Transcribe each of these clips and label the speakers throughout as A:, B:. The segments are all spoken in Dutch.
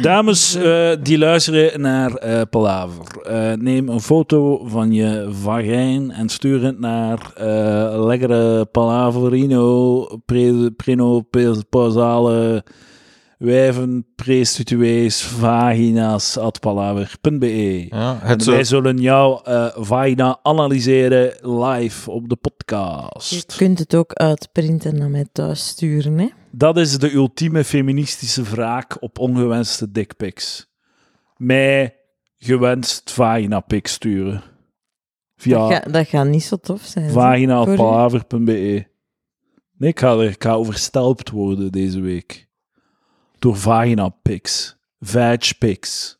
A: Dames eh, die luisteren naar eh Palaver, eh, neem een foto van je vagijn en stuur het naar eh, lekkere Palaverino, pre, preno, pe- pausale wijven, prestituees, vagina's, at palaver.be.
B: Ja,
A: En
B: het zo-
A: Wij zullen jouw eh, vagina analyseren live op de
C: Je
A: podcast.
C: kunt het ook uitprinten en naar mij thuis sturen, hè.
A: Dat is de ultieme feministische wraak op ongewenste dickpics. Mij gewenst vagina pics sturen.
C: Dat,
A: Via
C: ga- dat gaat niet zo tof zijn. zeg. voor u.
A: vagina.palaver.be. Nee, ik ga, er- ik ga overstelpt worden deze week. Door vagina pics. Vag pics.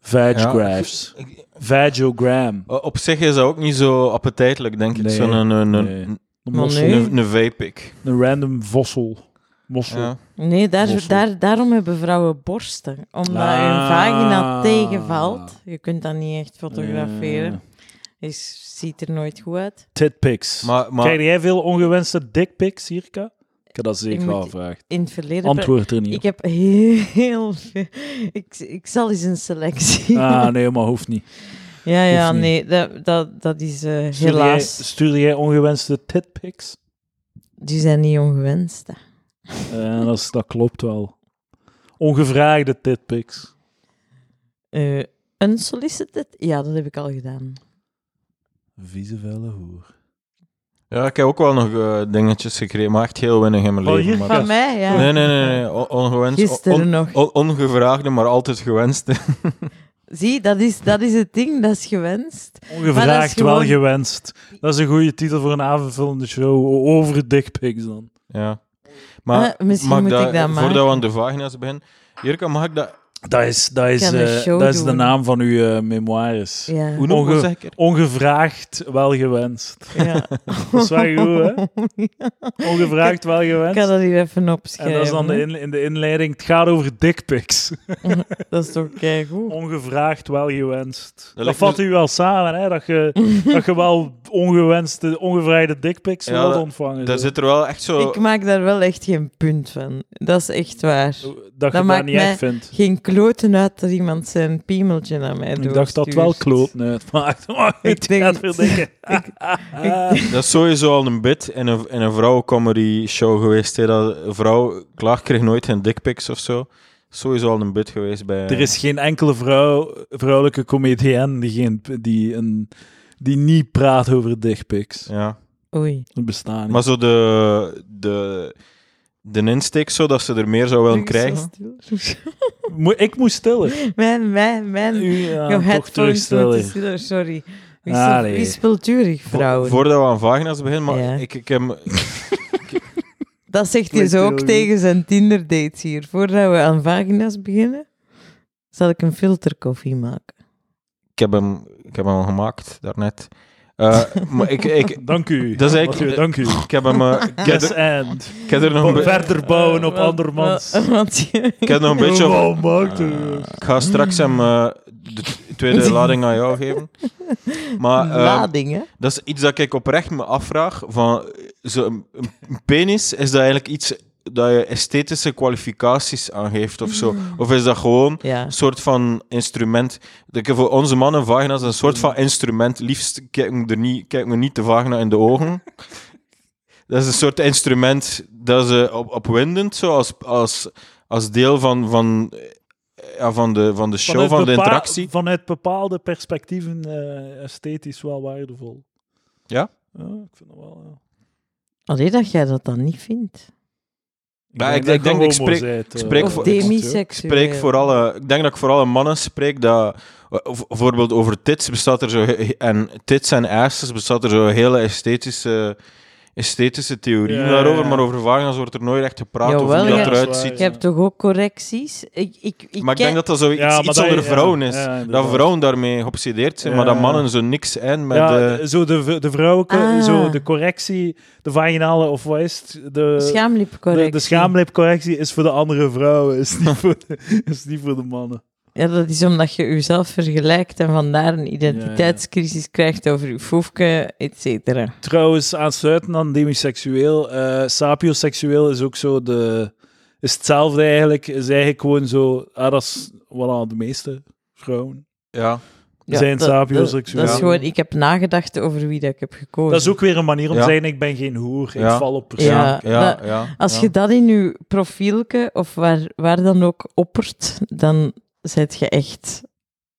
A: Vagraphs.
B: Ik-
A: Vagogram.
B: O- Op zich is dat ook niet zo appetijtelijk, denk ik.
A: Nee,
B: Zo'n eh, een, een,
A: nee.
B: een,
A: Een
C: Maar
A: mossel.
C: nee.
B: een, een vijpik.
A: Een random vossel. Mossel.
B: Ja.
C: Nee, daar,
A: Bossel.
C: daar, daarom hebben vrouwen borsten. Omdat hun
A: Ah.
C: vagina tegenvalt. Je kunt dat niet echt fotograferen.
A: Ja.
C: Is, ziet er nooit goed uit.
A: Titpics.
B: Maar, maar
A: Krijg jij veel ongewenste dickpics, Jirka? Ik heb dat
C: Ik
A: zeker
C: moet-
A: al gevraagd.
C: In het verleden...
A: Antwoord er
C: Ik
A: niet op.
C: heb heel veel... Ik, ik zal eens een selectie...
A: Ah, nee, maar hoeft niet.
C: ja, ja,
A: hoeft niet.
C: nee. Dat, dat, dat is eh,
A: Stuurde jij,
C: helaas...
A: stuurde jij ongewenste titpics?
C: Die zijn niet ongewenst. hè.
A: Eh, dat, is- dat klopt wel. Ongevraagde titpics.
C: Eh unsolicited? Ja, dat heb ik al gedaan.
A: Vieze vuile hoer.
B: ja, ik heb ook wel nog eh, dingetjes gekregen, maar echt heel weinig in mijn
A: Oh,
B: leven.
A: hier?
B: maar-
A: Ja.
C: Van mij, ja.
B: Nee, nee, nee, nee. o- ongewenst.
C: Gisteren
B: on-
C: nog.
B: on- ongevraagde, maar altijd gewenste.
C: Zie, dat is, dat is het ding, dat is gewenst. Maar dat
A: Ongevraagd,
C: is gewoon-
A: wel gewenst. Dat is een goede titel voor een avondvullende show. Over dickpics dan.
B: Ja. Maar
C: Eh, misschien
B: mag
C: moet ik dat maken.
B: Voordat we aan de vagina's beginnen. Jirka, mag ik dat...
A: Dat is, dat is,
C: kan een
A: eh,
C: show
A: dat is de
C: doen.
A: naam van uw eh memoires.
C: Ja.
B: Hoe noem
A: Onge-
B: hoe zeg ik het?
A: Ongevraagd, wel gewenst.
C: ja.
A: Dat is wel goed, hè? Ongevraagd, wel
C: Ik
A: gewenst.
C: kan dat hier even opschrijven.
A: En dat is dan de in, in de inleiding. Het gaat over dickpics.
C: Dat is toch keigoed.
A: Ongevraagd, wel gewenst. Dat,
B: lijkt me- dus
A: vat u wel samen, hè? Dat je, dat je wel ongewenste, ongevraagde dickpics
B: Ja,
A: wilt
B: dat-
A: ontvangen.
B: Daar
A: zo.
B: zit er wel echt
A: Oh.
B: zo...
C: Ik maak daar wel echt geen punt van. Dat is echt waar.
A: dat je dat
C: maakt
A: niet
C: mij-
A: echt vindt.
C: Geen kloten uit dat iemand zijn piemeltje aan mij doet.
A: Ik dacht dat wel kloot uitmaakt. Maar
C: Ik
A: ik
C: denk
A: gaat
C: het.
A: veel denken.
B: Dat is sowieso al een bit in een, in een vrouwencomedy show geweest. Hè, dat een vrouw... Klaag kreeg nooit geen dickpics of zo. Sowieso al een bit geweest bij...
A: Er is geen enkele vrouw, vrouwelijke comedienne die, geen, die, een, die niet praat over dickpics.
B: Ja.
C: Oei.
A: Dat bestaat niet.
B: Maar zo de... de de insteek zo dat ze er meer zou willen
C: Ik ben
B: krijgen.
C: zo stil.
A: Mo- ik moest stiller.
C: Mijn, mijn, mijn.
A: U, ja, toch
C: Jouw headphones moeten
A: terugstellen.
C: stiller, Oh, sorry. Wie is,
A: Ah,
C: er-
A: nee.
C: wie is cultuurig,
B: Vo-
C: vrouwen?
B: voordat we aan vagina's beginnen, maar
C: Ja.
B: ik, ik heb
C: Dat zegt hij
A: Klinkt
C: zo ook
A: heel goed.
C: tegen zijn Tinder-dates hier. Voordat we aan vagina's beginnen, zal ik een filterkoffie maken.
B: Ik heb hem, ik heb hem al gemaakt daarnet. Eh maar ik, ik,
A: Dank u.
B: Dat is
A: Dank
B: eigenlijk-
A: u. Dank u.
B: ik heb hem. eh, ik, heb
A: Yes
B: er,
A: and.
B: ik heb er nog een, be-
A: Verder bouwen op
C: Eh, want-
A: andermans.
C: eh, want je-
B: ik heb nog een beetje. Ah, op-
A: Wow, maakt het.
B: ik ga straks hem eh, de t- tweede lading aan jou geven. Maar eh,
C: Lading, hè?
B: dat is iets dat ik oprecht me afvraag. Van, zo, een, een penis, is dat eigenlijk iets dat je esthetische kwalificaties aangeeft of zo? Of is dat gewoon
C: Ja.
B: een soort van instrument. Dat ik voor onze mannen vagina's een soort van instrument. Liefst kijk me, er niet, kijk me niet de vagina in de ogen. Dat is een soort instrument dat ze op, opwindend, zo als, als, als deel van, van, eh, ja, van, de, van de show, van,
A: Vanuit
B: de
A: bepa-
B: interactie.
A: Vanuit bepaalde perspectieven eh, esthetisch wel waardevol.
B: Ja?
A: Ja, ik vind dat wel. ja.
C: Alleen dat jij dat dan niet vindt.
B: Ja, ik-
A: dat
B: ik denk-
A: je
B: ik
A: homo
B: spreek-
A: zijt, eh,
B: spreek
A: eh,
B: voor-
C: Of
B: ik-
C: demiseksueel.
B: spreek voor alle, ik denk dat ik voor alle mannen spreek dat eh, v- bijvoorbeeld over tits bestaat er zo he- en tits en asses bestaat er zo een hele esthetische esthetische theorie
A: Ja,
B: daarover,
A: ja.
B: maar over vagina's wordt er nooit echt gepraat over
C: Jawel,
B: hoe dat
C: ja.
B: eruit
C: Je
B: ziet.
C: hebt toch ook correcties? Ik, ik, ik
B: Maar ik denk
C: ken-
B: dat dat zo iets,
A: Ja, maar
B: iets
A: dat-
B: onder
A: ja,
B: vrouwen is.
A: ja,
B: dat
A: inderdaad.
B: vrouwen daarmee geobsedeerd zijn,
A: Ja.
B: maar dat mannen zo niks zijn met...
A: ja,
B: eh,
A: zo de, v- de vrouwelijke,
C: Ah.
A: zo de correctie, de vaginale of wat is het? De,
C: Schaamlipcorrectie.
A: Eh, de, de schaamlipcorrectie is voor de andere vrouwen, is niet voor de, is niet voor de mannen.
C: Ja, dat is omdat je jezelf vergelijkt en vandaar een identiteitscrisis krijgt over je foefke, et cetera.
A: Trouwens, aansluitend aan demiseksueel, eh sapioseksueel is ook zo de, is hetzelfde eigenlijk. Is eigenlijk gewoon zo, ah, dat is voilà, de meeste vrouwen.
B: Ja.
A: We zijn
C: dat- dat,
A: sapioseksueel.
C: dat is gewoon, ik heb nagedacht over wie dat ik heb gekozen.
A: Dat is ook weer een manier om
B: Ja.
A: te zeggen, ik ben geen hoer, ik
B: Ja.
A: val op persoon.
B: Ja,
C: Ja,
B: ja,
C: dat-
B: ja.
C: Als
B: ja.
C: je dat in je profielke of waar, waar dan ook oppert, dan zit je echt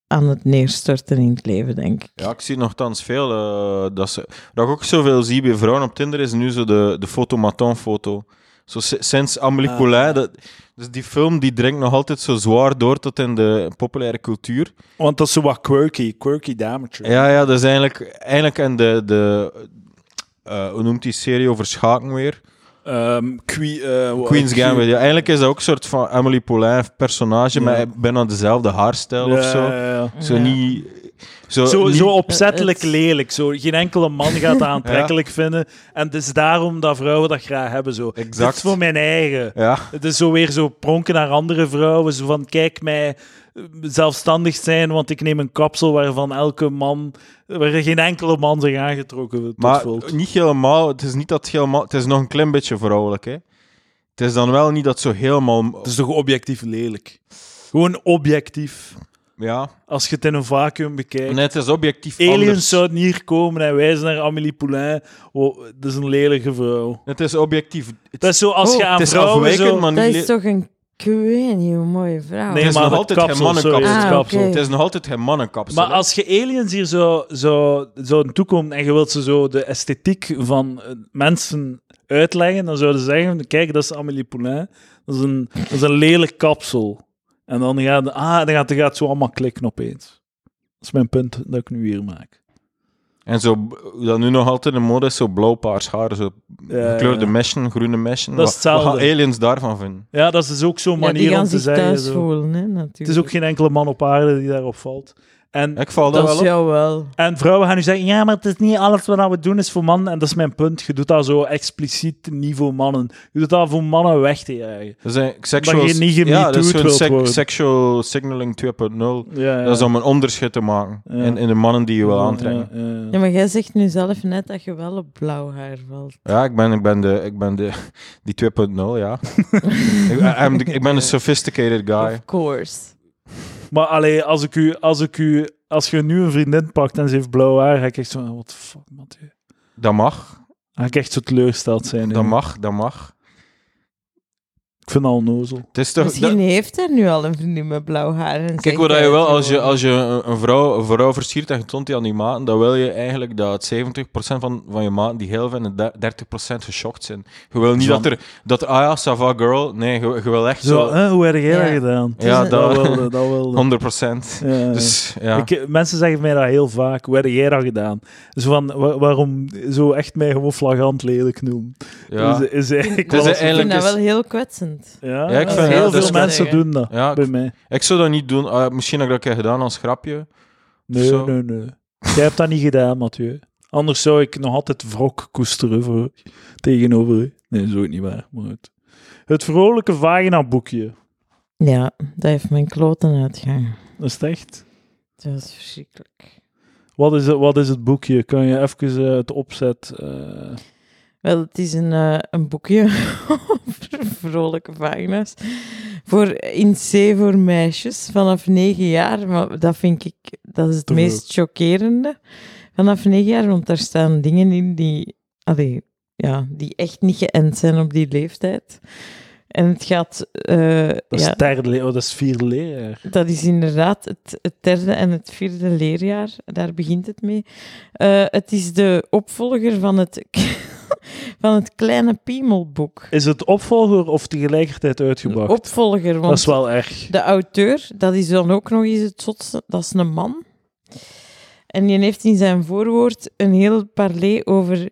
C: aan het neerstorten in het leven, denk ik.
B: Ja, ik zie nogthans veel. eh, dat ze, dat ik ook zoveel zie bij vrouwen op Tinder is nu zo de, de foto-maton-foto. Zo si- sinds Amélie
A: Ah.
B: Poulain. dat- dus die film die dringt nog altijd zo zwaar door tot in de populaire cultuur.
A: Want dat is zo wat quirky, quirky damage.
B: Ja, ja, dat is eigenlijk, eigenlijk in de. de eh, hoe noemt die serie over schaken weer?
A: Ehm, que- eh,
B: Queen's
A: que-
B: Gambit. Ja, eigenlijk is dat ook een soort van Emily Poulain personage,
A: Ja.
B: maar bijna dezelfde haarstijl of
A: Ja,
B: zo.
A: ja, ja.
B: Zo
C: Ja.
B: niet... Zo,
A: Zo,
B: niet-
A: zo opzettelijk
C: Het-
A: lelijk. Zo, geen enkele man gaat het aantrekkelijk vinden. En het is daarom dat vrouwen dat graag hebben. Zo.
B: Exact.
A: Dit is voor mijn eigen.
B: Ja,
A: Het is zo weer zo pronken naar andere vrouwen. Zo van, kijk mij eh, zelfstandig zijn, want ik neem een kapsel waarvan elke man, waar geen enkele man zich aangetrokken tot
B: maar
A: voelt.
B: niet helemaal... Het is niet dat het helemaal... Het is nog een klein beetje vrouwelijk, hè. Het is dan wel niet dat zo helemaal...
A: Het is toch objectief lelijk? Gewoon objectief.
B: Ja.
A: Als je het in een vacuüm bekijkt.
B: Nee, het is objectief
A: Aliens
B: anders.
A: zouden hier komen en wijzen naar Amélie Poulain. Oh, dat is een lelijke vrouw.
B: Het is objectief... Het,
A: Dat is zo als
C: Oh,
A: je aan
B: het is
A: vrouwen
B: afwijkend,
A: zo...
B: maar niet
C: Dat
B: le-
C: is toch een kwee, mooie vrouw.
A: Nee,
B: Het is
A: maar
B: nog
A: het
B: altijd
A: kapsel,
B: geen mannenkapsel.
A: sorry, het
C: Ah,
A: kapsel.
C: oké.
B: Het is nog altijd geen mannenkapsel.
A: Maar
B: hè.
A: als je aliens hier zo, zo, zo toekomt en je wilt ze zo de esthetiek van eh, mensen uitleggen, dan zouden ze zeggen, kijk, dat is Amélie Poulain. Dat is een, dat is een lelijk kapsel. En dan gaat, ah, dan gaat, dan gaat het zo allemaal klikken opeens. Dat is mijn punt dat ik nu hier maak.
B: En zo, b- hoe dat nu nog altijd in mode is, zo blauw-paars haar, zo
A: Ja,
B: gekleurde
A: ja.
B: meshen, groene meshen.
A: Dat is
B: Wat- wat gaan
A: hetzelfde.
B: aliens daarvan vinden?
A: Ja, dat is dus ook zo'n
C: Ja,
A: manier
C: die
A: om
C: gaan
A: te
C: zich
A: zeggen.
C: thuis
A: zo.
C: voelen, hè, natuurlijk.
A: Het is ook geen enkele man op aarde die daarop valt. En
B: Ik val daar
C: dat
B: wel
C: is
B: op.
C: jou wel.
A: En vrouwen gaan nu zeggen, ja, maar het is niet alles wat we doen is voor mannen. En dat is mijn punt. Je doet dat zo expliciet niet voor mannen. Je doet dat voor mannen weg te jagen.
B: Dat zijn sexual,
A: Dat je niet gemetood
B: ja, dat is zo'n
A: wilt
B: sec-
A: worden.
B: sexual signaling 2.0.
A: Ja, ja.
B: Dat is om een onderscheid te maken
A: Ja.
B: in, in de mannen die je wil aantrekken.
A: Ja, ja, ja.
C: Ja, maar jij zegt nu zelf net dat je wel op blauw haar valt.
B: Ja, ik, ben, ik ben, de, ik ben de, die 2.0, ja. ik, I'm the- ik ben een sophisticated guy.
C: Of course.
A: Maar allee, als ik u, als ik u, als je nu een vriendin pakt en ze heeft blauw haar, ga ik echt zo, wat fuck, Mathieu.
B: Dat mag,
A: Ga ik echt zo teleurgesteld zijn.
B: dat
A: hè.
B: mag, dat mag.
A: Ik vind dat onnozel.
B: Het is toch... dat-
C: Misschien heeft er nu al een vriendin met blauw haar. En
B: Kijk, wat je wel, als je, als je een, een vrouw, een vrouw versiert en je toont die aan die maten, dan wil je eigenlijk dat 70% van, van je maten die heel vinden, en der- 30% geschokt zijn. Je wil niet
A: Van-
B: dat er, dat, ah ja, Sava girl. Nee, je, je wil echt
A: Zo,
B: zo,
A: hè, hoe heb jij dat
C: Ja.
A: gedaan?
B: Ja,
C: Dus,
A: Dat
B: dat,
A: wilde, dat wilde.
B: 100%.
A: Ja, ja.
B: Dus ja.
A: Ik- mensen zeggen mij dat heel vaak. Hoe heb jij dat gedaan? Zo van, wa- waarom zo echt mij gewoon flagrant lelijk noemen?
B: ja.
A: Is, is eigenlijk
B: Dus
A: wel
C: Ik vind
B: eigenlijk
C: dat
B: is-
C: wel heel kwetsend.
A: Ja,
B: Ja, ik
A: dat
B: vind-
A: heel
B: ja,
A: veel
B: dus-
A: mensen doen dat
B: Ja,
A: bij
B: ik,
A: mij.
B: ik zou dat niet doen. Ah, misschien heb ik dat een keer gedaan als grapje.
A: Nee,
B: zo.
A: nee, nee. Jij hebt dat niet gedaan, Mathieu. Anders zou ik nog altijd wrok koesteren voor, tegenover u. Nee, dat is ook niet waar. Maar het, het vrolijke vagina-boekje.
C: Ja, dat heeft mijn kloten uitgehangen.
A: Dat is het echt.
C: Dat is verschrikkelijk.
A: Wat is, het, wat is het boekje? Kan je even eh, het opzet... eh,
C: Wel, het is een, eh, een boekje over vrolijke vagina's. Voor in C voor meisjes vanaf negen jaar. Maar dat vind ik, dat is het
A: Te
C: meest chockerende. Vanaf negen jaar, want daar staan dingen in die, allee, ja, die echt niet geënt zijn op die leeftijd. En het gaat, eh,
A: dat, is
C: ja,
A: derde le- oh, dat is vierde leerjaar.
C: dat is inderdaad het, het derde en het vierde leerjaar. Daar begint het mee. Eh, het is de opvolger van het, van het kleine piemelboek.
A: Is het opvolger of tegelijkertijd uitgebracht?
C: Opvolger,
A: dat is
C: want
A: wel erg.
C: de auteur, dat is dan ook nog eens het zotste, dat is een man. En die heeft in zijn voorwoord een heel parley over...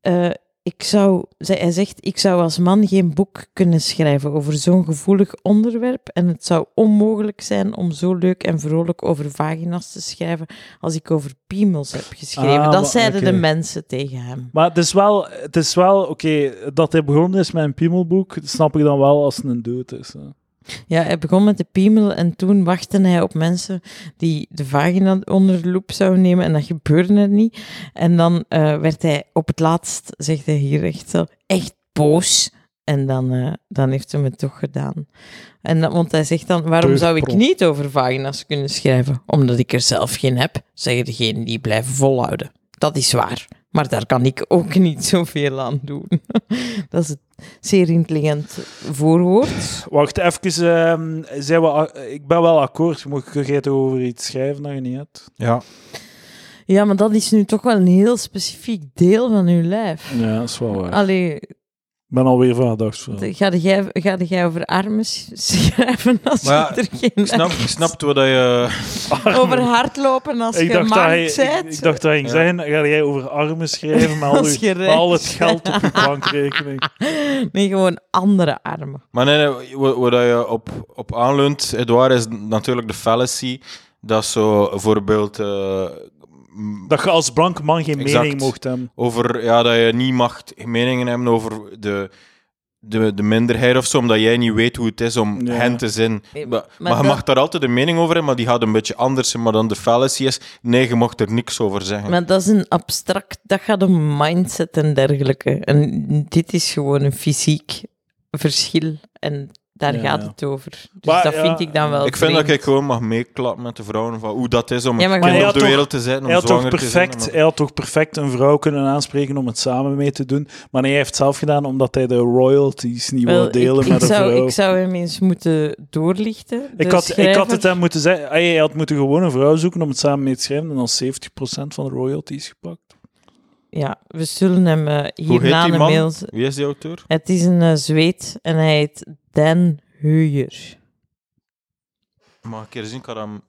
C: eh, ik zou, zij- hij zegt, ik zou als man geen boek kunnen schrijven over zo'n gevoelig onderwerp en het zou onmogelijk zijn om zo leuk en vrolijk over vagina's te schrijven als ik over piemels heb geschreven.
A: Ah, maar-
C: dat zeiden
A: oké.
C: de mensen tegen hem.
A: Maar het is wel, het is wel oké, dat hij begonnen is met een piemelboek, dat snap ik dan wel als het een dood is. hè.
C: Ja, hij begon met de piemel en toen wachtte hij op mensen die de vagina onder de loep zouden nemen en dat gebeurde er niet. En dan eh, werd hij op het laatst, zegt hij hier echt zo, echt boos. En dan, eh, dan heeft ze me toch gedaan. En dat, want hij zegt dan, waarom zou ik
A: Teugprop.
C: niet over vagina's kunnen schrijven? Omdat ik er zelf geen heb, zeggen degenen die blijven volhouden. Dat is waar. Maar daar kan ik ook niet zoveel aan doen. dat is het zeer intelligent voorwoord.
A: Wacht even, ehm, zijn we, a- ik ben wel akkoord. Moet ik het over iets schrijven dat je niet hebt?
B: Ja.
C: Ja, maar dat is nu toch wel een heel specifiek deel van uw lijf.
A: Ja, dat is wel waar.
C: Allee,
A: Ik ben alweer van gedacht.
C: Ga jij, ga jij over armen s- schrijven als
B: Maar
C: je er geen
B: Ik snap, ik snap wat dat je...
C: Over hardlopen als
A: Ik
C: je
A: dacht, dat hij,
C: mank
A: ik,
C: bent?
A: ik dacht dat hij ging
B: Ja.
A: zeggen, ga jij over armen schrijven met al,
C: Als
A: uw-
C: je
A: met al
C: rijk
A: het geld op je bankrekening.
C: Nee, gewoon andere armen.
B: Maar nee, nee, wa- waar dat je op, op aanleunt, Edouard, is natuurlijk de fallacy. Dat zo bijvoorbeeld eh, m-
A: Dat je als blanke man geen
B: Exact.
A: mening mocht hebben.
B: over ja, dat je niet mag meningen hebben over de, de, de minderheid of zo, omdat jij niet weet hoe het is om
A: Ja.
B: hen te zijn.
C: Nee,
B: maar
C: maar
B: maar je
C: dat-
B: mag daar altijd een mening over hebben, maar die gaat een beetje anders zijn. Maar dan de fallacy is, nee, je mag er niks over zeggen.
C: Maar dat is een abstract, dat gaat om mindset en dergelijke. En dit is gewoon een fysiek verschil. En daar
A: Ja,
C: gaat
A: ja.
C: het over. Dus
A: Maar
C: dat
A: ja,
C: vind ik dan wel.
B: ik vind dat
C: vreemd.
B: ik gewoon mag meeklappen met de vrouwen van hoe dat is om
C: Ja,
B: een
C: maar
B: kind
A: hij
B: op
A: had
B: de
A: toch-
B: wereld te zijn, om
A: Hij had, toch
B: zwanger te zijn.
A: perfect, hij had toch perfect een vrouw kunnen aanspreken om het samen mee te doen. Maar nee, hij heeft het zelf gedaan omdat hij de royalties niet
C: Wel,
A: wil delen
C: ik,
A: met
C: ik
A: een
C: zou, dus
A: vrouw.
C: Ik
A: Ik,
C: zou hem eens moeten doorlichten. de
A: had, ik had
C: schrijver.
A: het hem moeten zeggen. Hij hij had moeten gewoon een vrouw zoeken om het samen mee te schrijven. En dan 70% van de royalties gepakt.
C: Ja, we zullen hem eh,
B: Hoe heet
C: hierna
B: die
C: een
B: man?
C: mail...
B: Wie is die auteur?
C: Het is een eh, Zweed en hij heet Dan Huyer.
B: Mag ik een keer zien, ik had hem...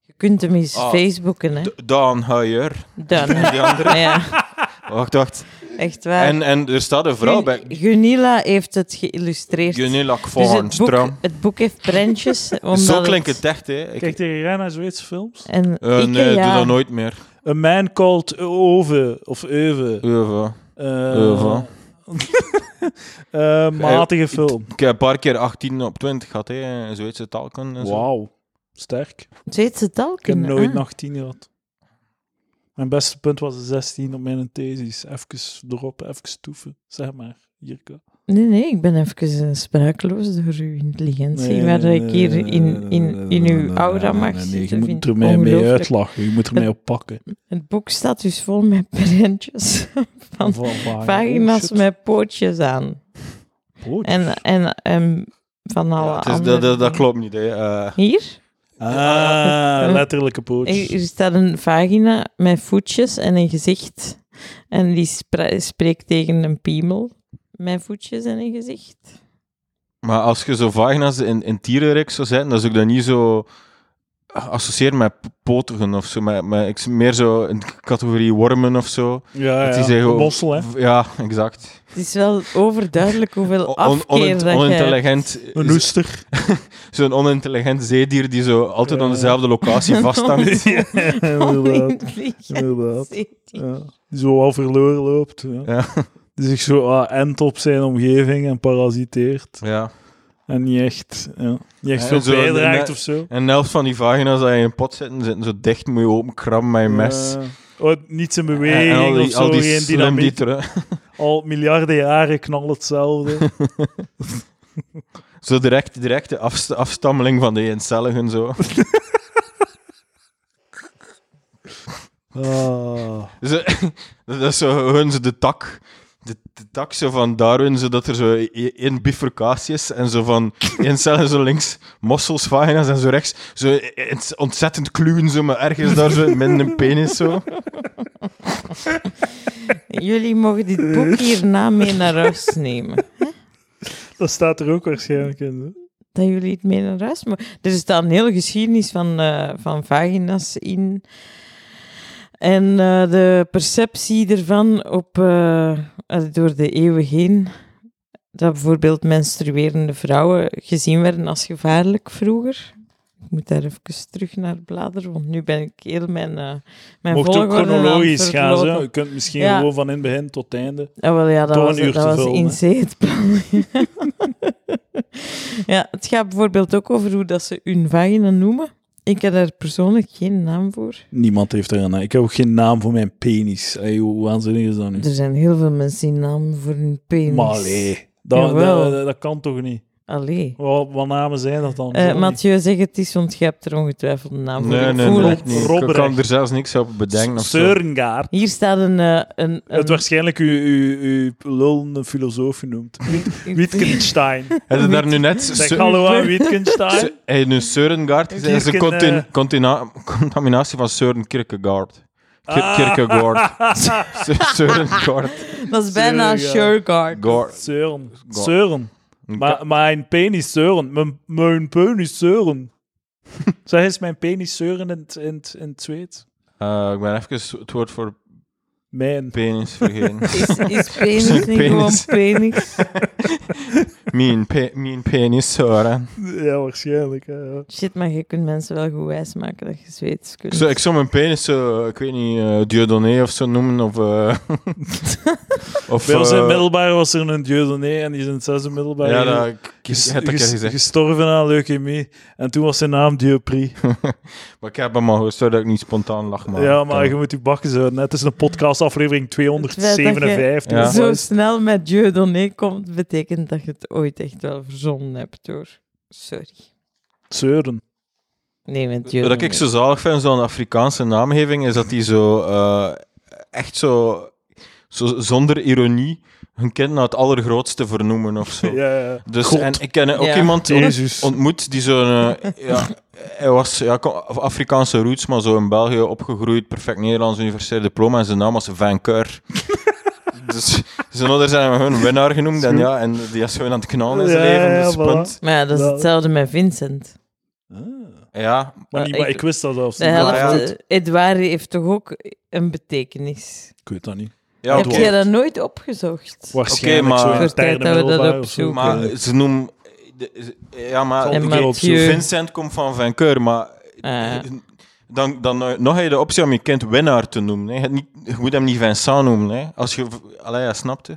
C: Je kunt hem eens
B: Ah,
C: Facebooken, hè.
B: D- Daan Huijer.
C: Dan.
B: En die andere.
C: ja,
B: Wacht, wacht.
C: echt waar.
B: En, en er staat een vrouw bij.
C: Gun- Gunilla heeft het geïllustreerd.
B: Gunilla
C: dus
B: Kvarn,
C: het boek,
B: stram.
C: het boek heeft prentjes. omdat
B: Zo
C: het-
B: klinkt het echt, hè. Ik-
A: Kijk tegen jij naar Zweedse films?
C: En
B: Eh,
C: ik,
B: nee,
C: ja,
B: doe dat nooit meer.
A: A Man Called Ove. Of Euve.
B: Uva.
A: Eh,
B: Euvel.
A: eh, matige film.
B: Ik heb een paar keer 18 op 20 gehad, hè. in Zweedse taalkunde en zo.
A: Wauw. Sterk.
C: Zweedse taal
A: Ik heb
C: kunnen,
A: nooit
C: ah.
A: een 18 gehad. Mijn beste punt was een 16 op mijn thesis. Even erop, even toeven. Zeg maar, Jirka.
C: Nee, nee, ik ben even eh, sprakeloos door uw intelligentie.
A: Nee,
C: waar
A: nee,
C: ik
A: nee,
C: hier
A: nee, nee, nee,
C: in, in,
A: nee,
C: in
A: nee, nee,
C: uw
A: nee,
C: aura
A: nee,
C: mag
A: nee,
C: zitten.
A: nee, Je
C: vind
A: moet er
C: ik
A: mij mee
C: ongelooflijk.
A: uitlachen. Je moet er mij op pakken.
C: Het boek staat dus vol met
A: Ah,
C: prentjes. Van
A: Van vagina- oh,
C: Vagina's
A: shit.
C: met pootjes aan.
A: Broodjes.
C: En, en, en van alle
B: Ja, het is-
C: andere
B: dat, dat, dat
C: dingen.
B: klopt niet, hè. Eh,
C: Hier?
A: Ah, letterlijke pootjes.
C: Hier hier staat een vagina met voetjes en een gezicht. En die spra- spreekt tegen een piemel met voetjes en een gezicht.
B: maar als je zo vagina's in, in tierenrek zou zijn, dan zou ik dat niet zo associëren met p- potigen of zo. Met, met, ik- meer zo in de categorie wormen of zo.
A: Ja,
B: dat
A: ja.
B: die zeggen ook-
A: Mossel, hè.
B: Ja, exact.
C: Het is wel overduidelijk hoeveel
B: On- on-
C: afkeer dat je...
B: onintelligent.
A: Een oester.
B: Zo'n onintelligent zeedier die zo altijd aan
A: Ja.
B: dezelfde locatie vasthangt.
A: Ja, inderdaad.
C: Onintelligent
A: Inderdaad.
C: zit die.
A: Ja. Die zo al verloren loopt. Ja.
B: Ja.
A: Die zich zo ah, ent op zijn omgeving en parasiteert.
B: Ja.
A: En niet echt, ja, niet echt
B: Ja,
A: veel
B: zo,
A: bijdraagt
B: nee.
A: of zo.
B: En de helft van die vagina's die in een pot zitten, zitten zo dicht, moet je openkrabben met je mes.
A: Eh, oh, niets in
B: en,
A: beweging
B: en al die,
A: of zo,
B: al die
A: geen
B: slim
A: dynamiek.
B: die er-
A: Al miljarden jaren knal hetzelfde.
B: Zo direct, direct de afst- afstammeling van de eencelligen zo.
A: Ah.
B: Ze- dat is zo hun ze de tak. De, de tak zo van Darwin, zodat er zo e- één bifurcatie is. En zo van eencelligen zo links, mossels, vagina's en zo rechts. Zo e- e- ontzettend kluwen zo, maar ergens daar zo midden een penis zo.
C: Jullie mogen dit boek hierna mee naar huis nemen.
A: Dat staat er ook waarschijnlijk in. hè.
C: dat jullie het mee naar huis mogen. Er staat een hele geschiedenis van, eh, van vagina's in. En eh, de perceptie ervan op, eh, eh, door de eeuwen heen. Dat bijvoorbeeld menstruerende vrouwen gezien werden als gevaarlijk vroeger. Ik moet daar even terug naar bladeren, want nu ben ik heel mijn, eh mijn
A: Mocht ook
C: volgorde aan het
A: chronologisch gaan. Zo.
C: verlopen.
A: Je kunt misschien
C: Ja.
A: gewoon van in het begin tot het einde.
C: Ah, wel, ja, dat
A: Door
C: was,
A: een uur
C: dat
A: te
C: was
A: vullen, hè.
C: in zee het plan. ja, het gaat bijvoorbeeld ook over hoe dat ze hun vagina noemen. Ik heb daar persoonlijk geen naam voor.
A: Niemand heeft er een naam. Ik heb ook geen naam voor
B: Hmm.
A: mijn penis. Ey, hoe waanzinnig is dat nu?
C: Er zijn heel veel mensen die namen voor hun penis.
A: Maar allee. Dat,
C: Jawel.
A: dat, dat kan toch niet?
C: Allee.
A: Wat, wat namen zijn dat dan?
C: Eh,
A: Sorry.
C: Mathieu, zeg het eens, want je hebt er ongetwijfeld een naam voor.
B: Oh, Nee,
C: Ik
B: nee,
C: voel
B: nee.
C: het.
B: echt niet. Ik
A: Robberig.
B: kan er zelfs niks op bedenken. Of zo.
A: Seurengaard.
C: Hier staat een... eh, een, een
A: Het waarschijnlijk uw, uw, uw lulende filosoof genoemd. Wittgenstein.
B: Heb je daar nu net...
A: Zeg
B: Seu-
A: hallo aan Wittgenstein.
B: Seu- heb je nu Seurengaard gezegd? Dat is een
A: Kirken,
B: contin-
A: eh.
B: contina- contaminatie van Seurenkirkegaard.
A: Ah.
B: Kir- Kierkegaard. Seu- Seurengaard.
C: Dat is bijna
A: Sorry, ja.
C: Sureguard.
B: Gaard.
A: Zeuren.
B: God.
A: Zeuren. Maar mijn penis zeuren. Mijn, mijn penis zeuren. Zeg eens mijn penis zeuren in, het- in, het- in het Zweeds.
B: Eh, ik ben even het woord voor
A: Mijn.
B: penis vergeten.
C: Is, is penis
B: Zijn
C: niet gewoon
B: penis.
C: penis?
B: Mijn, pe mijn penis, Søren.
A: Ja, waarschijnlijk. ja, ja.
C: Shit, maar je kunt mensen wel goed wijsmaken dat je Zweeds kunt.
B: Ik zou, ik zou mijn penis, zo, ik weet niet, eh Dieudonné of zo noemen. Of, eh of,
A: Bij ons in
B: eh,
A: het middelbaar was er een dieudonné en die is in het zesde middelbaar
B: Ja,
A: ge-
B: dat, ik, ik
A: ges-
B: heb dat
A: ges-
B: gezegd.
A: gestorven aan leukemie. En toen was zijn naam Diopri.
B: Maar ik heb hem al gehoord, zodat ik niet spontaan lach. Maar eh,
A: ja, maar je moet je bakken zo. Het is een podcast aflevering
B: Het feit dat
A: 257.
B: je-
A: of
C: Zo
A: wat is het?
C: snel met Dieudonné komt, betekent dat je het ooit echt wel verzonnen hebt, hoor. Sorry.
A: Zeuren.
C: Nee, met
B: Wat
C: Dieudonné.
B: ik zo zalig vind, zo'n Afrikaanse naamgeving, is dat die zo eh, echt zo, zo zonder ironie hun kind naar het allergrootste vernoemen of zo.
A: Ja, ja.
B: Dus,
A: God.
B: en ik ken ook
C: Ja.
B: iemand
A: Jezus.
B: ontmoet die zo'n... eh, ja, hij was ja, kom- Af- Afrikaanse roots, maar zo in België opgegroeid, perfect Nederlands universitair diploma en zijn naam was Van Keur. dus zijn ouders zijn hem gewoon winnaar genoemd en ja, en die is gewoon aan het knallen in zijn
A: Ja,
B: leven.
A: ja,
B: dus
A: voilà.
B: punt.
C: Maar ja, dat is
A: Nou.
C: hetzelfde met Vincent.
A: Ah,
B: Ja,
A: Maar, niet,
C: Maar
A: maar
C: ik-
A: ik wist dat zelfs
C: De
A: niet.
C: helft,
B: ja.
C: eh, Edouard heeft toch ook een betekenis.
A: Ik weet dat niet.
B: ja
C: Heb
B: oké.
C: jij dat nooit opgezocht?
A: Waarschijnlijk
B: maar-
A: zo in
B: Voor
A: het derde
C: tijd dat we dat
A: middelbaar of zo.
C: opzoeken.
B: Maar ze noemen... Ja, maar...
A: Zal
C: En
A: ik
B: oké,
A: keer opzoeken.
C: Mathieu...
B: Vincent komt van Vancouver, maar... eh,
C: Ah.
B: Dan, dan eh, nog heb je de optie om je kind winnaar te noemen. Hè. Je, hebt niet, je moet hem niet Vincent noemen. Hè. Als je... Allee, ja, snapte.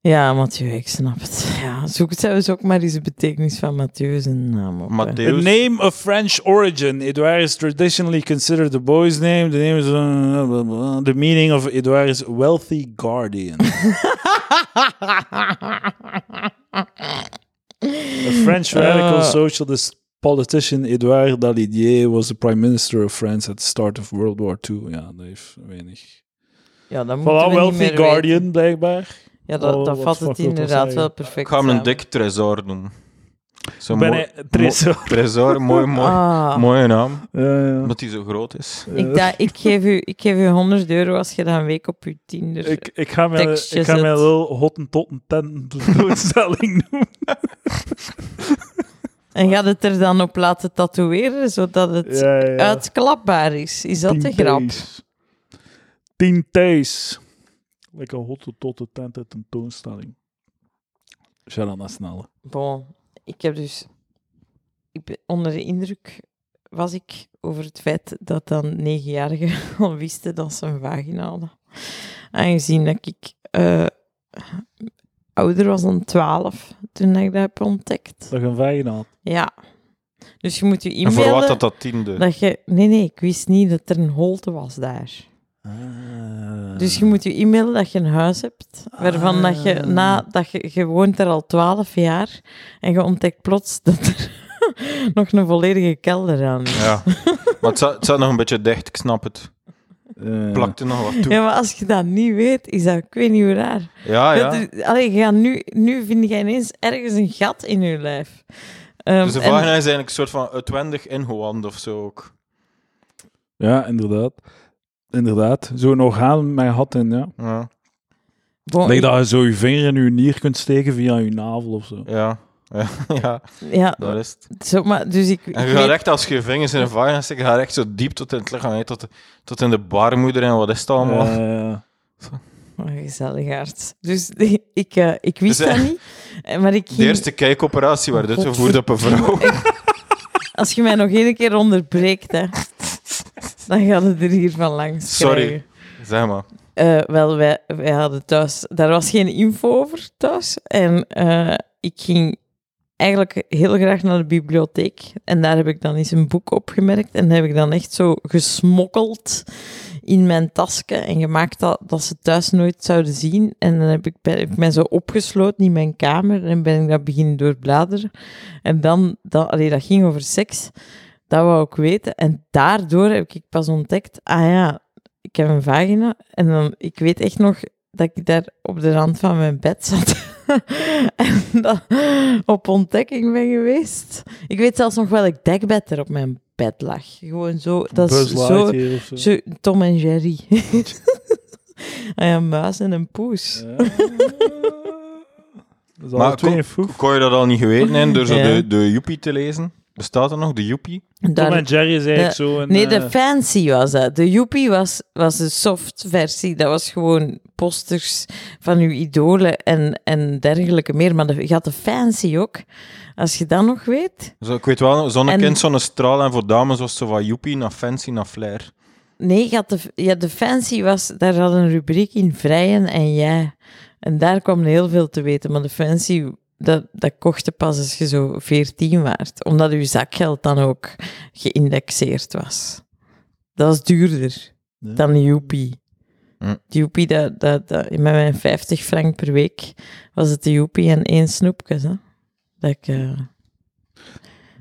C: Ja, Mathieu, ik snap het. Ja, zoek zelfs ook maar eens de betekenis van Mathieu zijn naam op.
A: The
C: hè.
B: Matthäus.
A: name of French origin. Edouard is traditionally considered the boy's name. The name is uh, blah, blah. the meaning of Edouard is wealthy guardian. A French radical
C: Uh.
A: socialist politician Edouard Daladier was the prime minister of France at the start of World War II. Ja, dat heeft weinig.
C: Ja, dat moeten
A: Voilà,
C: we niet
A: wealthy
C: meer
A: guardian
C: weten.
A: blijkbaar.
C: Ja, dat,
A: Oh,
C: dat
A: wat
C: vat
A: fuck
C: het
A: wil dat
C: inderdaad
A: zeggen?
C: wel
B: Ik
C: perfect
B: ga hem een
C: samen.
B: dik tresor noemen. Zo
A: ben
B: mooi-
A: hij Tresor.
B: mooi- Tresor, mooi, mooi.
C: Ah,
B: Mooie naam.
A: Ja, ja.
B: Omdat hij zo groot is.
A: Eh,
C: ik, da- ik, geef u, ik geef u 100 euro als je dat een week op je Tinder...
A: Ik, ik ga mijn,
C: tekstje
A: ik ga
C: zet.
A: mijn lul hottentotten tentoonstelling noemen.
C: En gaat het er dan op laten tatoeëren, zodat het
A: Ja, ja.
C: uitklapbaar is? Is dat de
A: Tien
C: grap?
A: T's. Tien T's. Lekker hottentotten tenten tentoonstelling. Sharon Snelle.
C: Bon, ik heb dus... Ik ben onder de indruk was ik over het feit dat dan negenjarigen al wisten dat ze een vagina hadden. Aangezien dat ik eh, ouder was dan 12 toen ik dat heb ontdekt.
A: Dat een vagina had.
C: Ja. Dus je moet je
B: En voor wat
C: inbeelden
B: dat dat tiende?
C: dat je... Nee, nee, ik wist niet dat er een holte was daar. Dus
B: Ah.
C: je moet je inbeelden dat je een huis hebt, waarvan dat je na dat je, je woont er al twaalf jaar en je ontdekt plots dat er nog een volledige kelder aan is.
B: Ja. maar het zat, het zat nog een beetje dicht, ik snap het.
A: Eh,
B: Plakte nog wat toe.
C: Ja, maar als je dat niet weet, is dat, ik weet niet hoe raar.
B: Ja, Ah, ja.
C: Dat er- allee, je gaat nu, nu vind je ineens ergens een gat in je lijf. Ehm,
B: Dus de
C: en-
B: vagina is eigenlijk een soort van uitwendig ingewand of zo ook.
A: Ja, inderdaad. Inderdaad. Zo'n orgaan met gat in, ja.
B: Ja.
C: bon,
A: Denk
C: Oh, ik-
A: dat je zo je vinger in je nier kunt steken via je navel of zo.
B: Ja. Ja, ja,
C: ja,
B: dat is het.
C: zo, maar, dus ik, ik
B: En je
C: weet-
B: gaat echt, als je je vingers in een vagina steekt, ga je echt zo diep tot in het lichaam, hè, tot, tot in de baarmoeder en wat is het allemaal.
A: Ja, ja, ja.
C: Oh, gezelligaard. Dus ik, eh, ik wist
B: Dus, eh,
C: dat niet, eh, maar ik
B: de
C: ging...
B: eerste kijkoperatie werd uitgevoerd op een vrouw.
C: Als je mij nog één keer onderbreekt, hè, dan gaat het er hier van langs.
B: Sorry.
C: krijgen.
B: Zeg maar.
C: Eh, wel, wij, wij hadden thuis, daar was geen info over thuis. En eh, ik ging eigenlijk heel graag naar de bibliotheek. En daar heb ik dan eens een boek opgemerkt. En heb ik dan echt zo gesmokkeld in mijn tasje en gemaakt dat, dat ze thuis nooit zouden zien. En dan heb ik, ben, heb ik mij zo opgesloten in mijn kamer en ben ik dat beginnen doorbladeren. En dan, dat, allee, dat ging over seks. Dat wou ik weten. En daardoor heb ik pas ontdekt, ah ja, ik heb een vagina. En dan, ik weet echt nog dat ik daar op de rand van mijn bed zat. en dat op ontdekking ben geweest. Ik weet zelfs nog welk dekbed er op mijn bed lag. Gewoon zo, dat is
A: Buzz
C: zo,
A: Lightyear of zo.
C: zo Tom en Jerry. ah ja, een muis en een poes.
A: Ja. Dat is alle
B: Maar
A: twee
B: kom-
A: een foef.
B: Kon je dat al niet geweten hebben door zo
C: Ja.
B: de, de Joepie te lezen? Bestaat er nog, de Joepie?
A: Tom
C: Daar-
A: en Jerry is eigenlijk zo een...
C: nee, de
A: eh,
C: fancy was dat. De Joepie was, was de soft versie. Dat was gewoon posters van uw idolen en, en dergelijke meer. Maar de, je had de fancy ook. Als je dat nog weet.
B: Zo, ik weet wel, zonnekind,
C: En-
B: zonnestraal en voor dames was ze van Joepie naar Fancy naar Flair.
C: Nee, je had de, ja, de fancy was... Daar had een rubriek in Vrijen en jij. En daar kwam heel veel te weten. Maar de fancy... Dat, dat kocht pas als je zo 14 waard. Omdat uw zakgeld dan ook geïndexeerd was. Dat was duurder.
A: ja.
C: dan de Joepie.
B: Hm.
C: De Joepie, dat, dat, dat, met mijn 50 frank per week was het de Joepie en één snoepje. Hè? Dat ik, eh,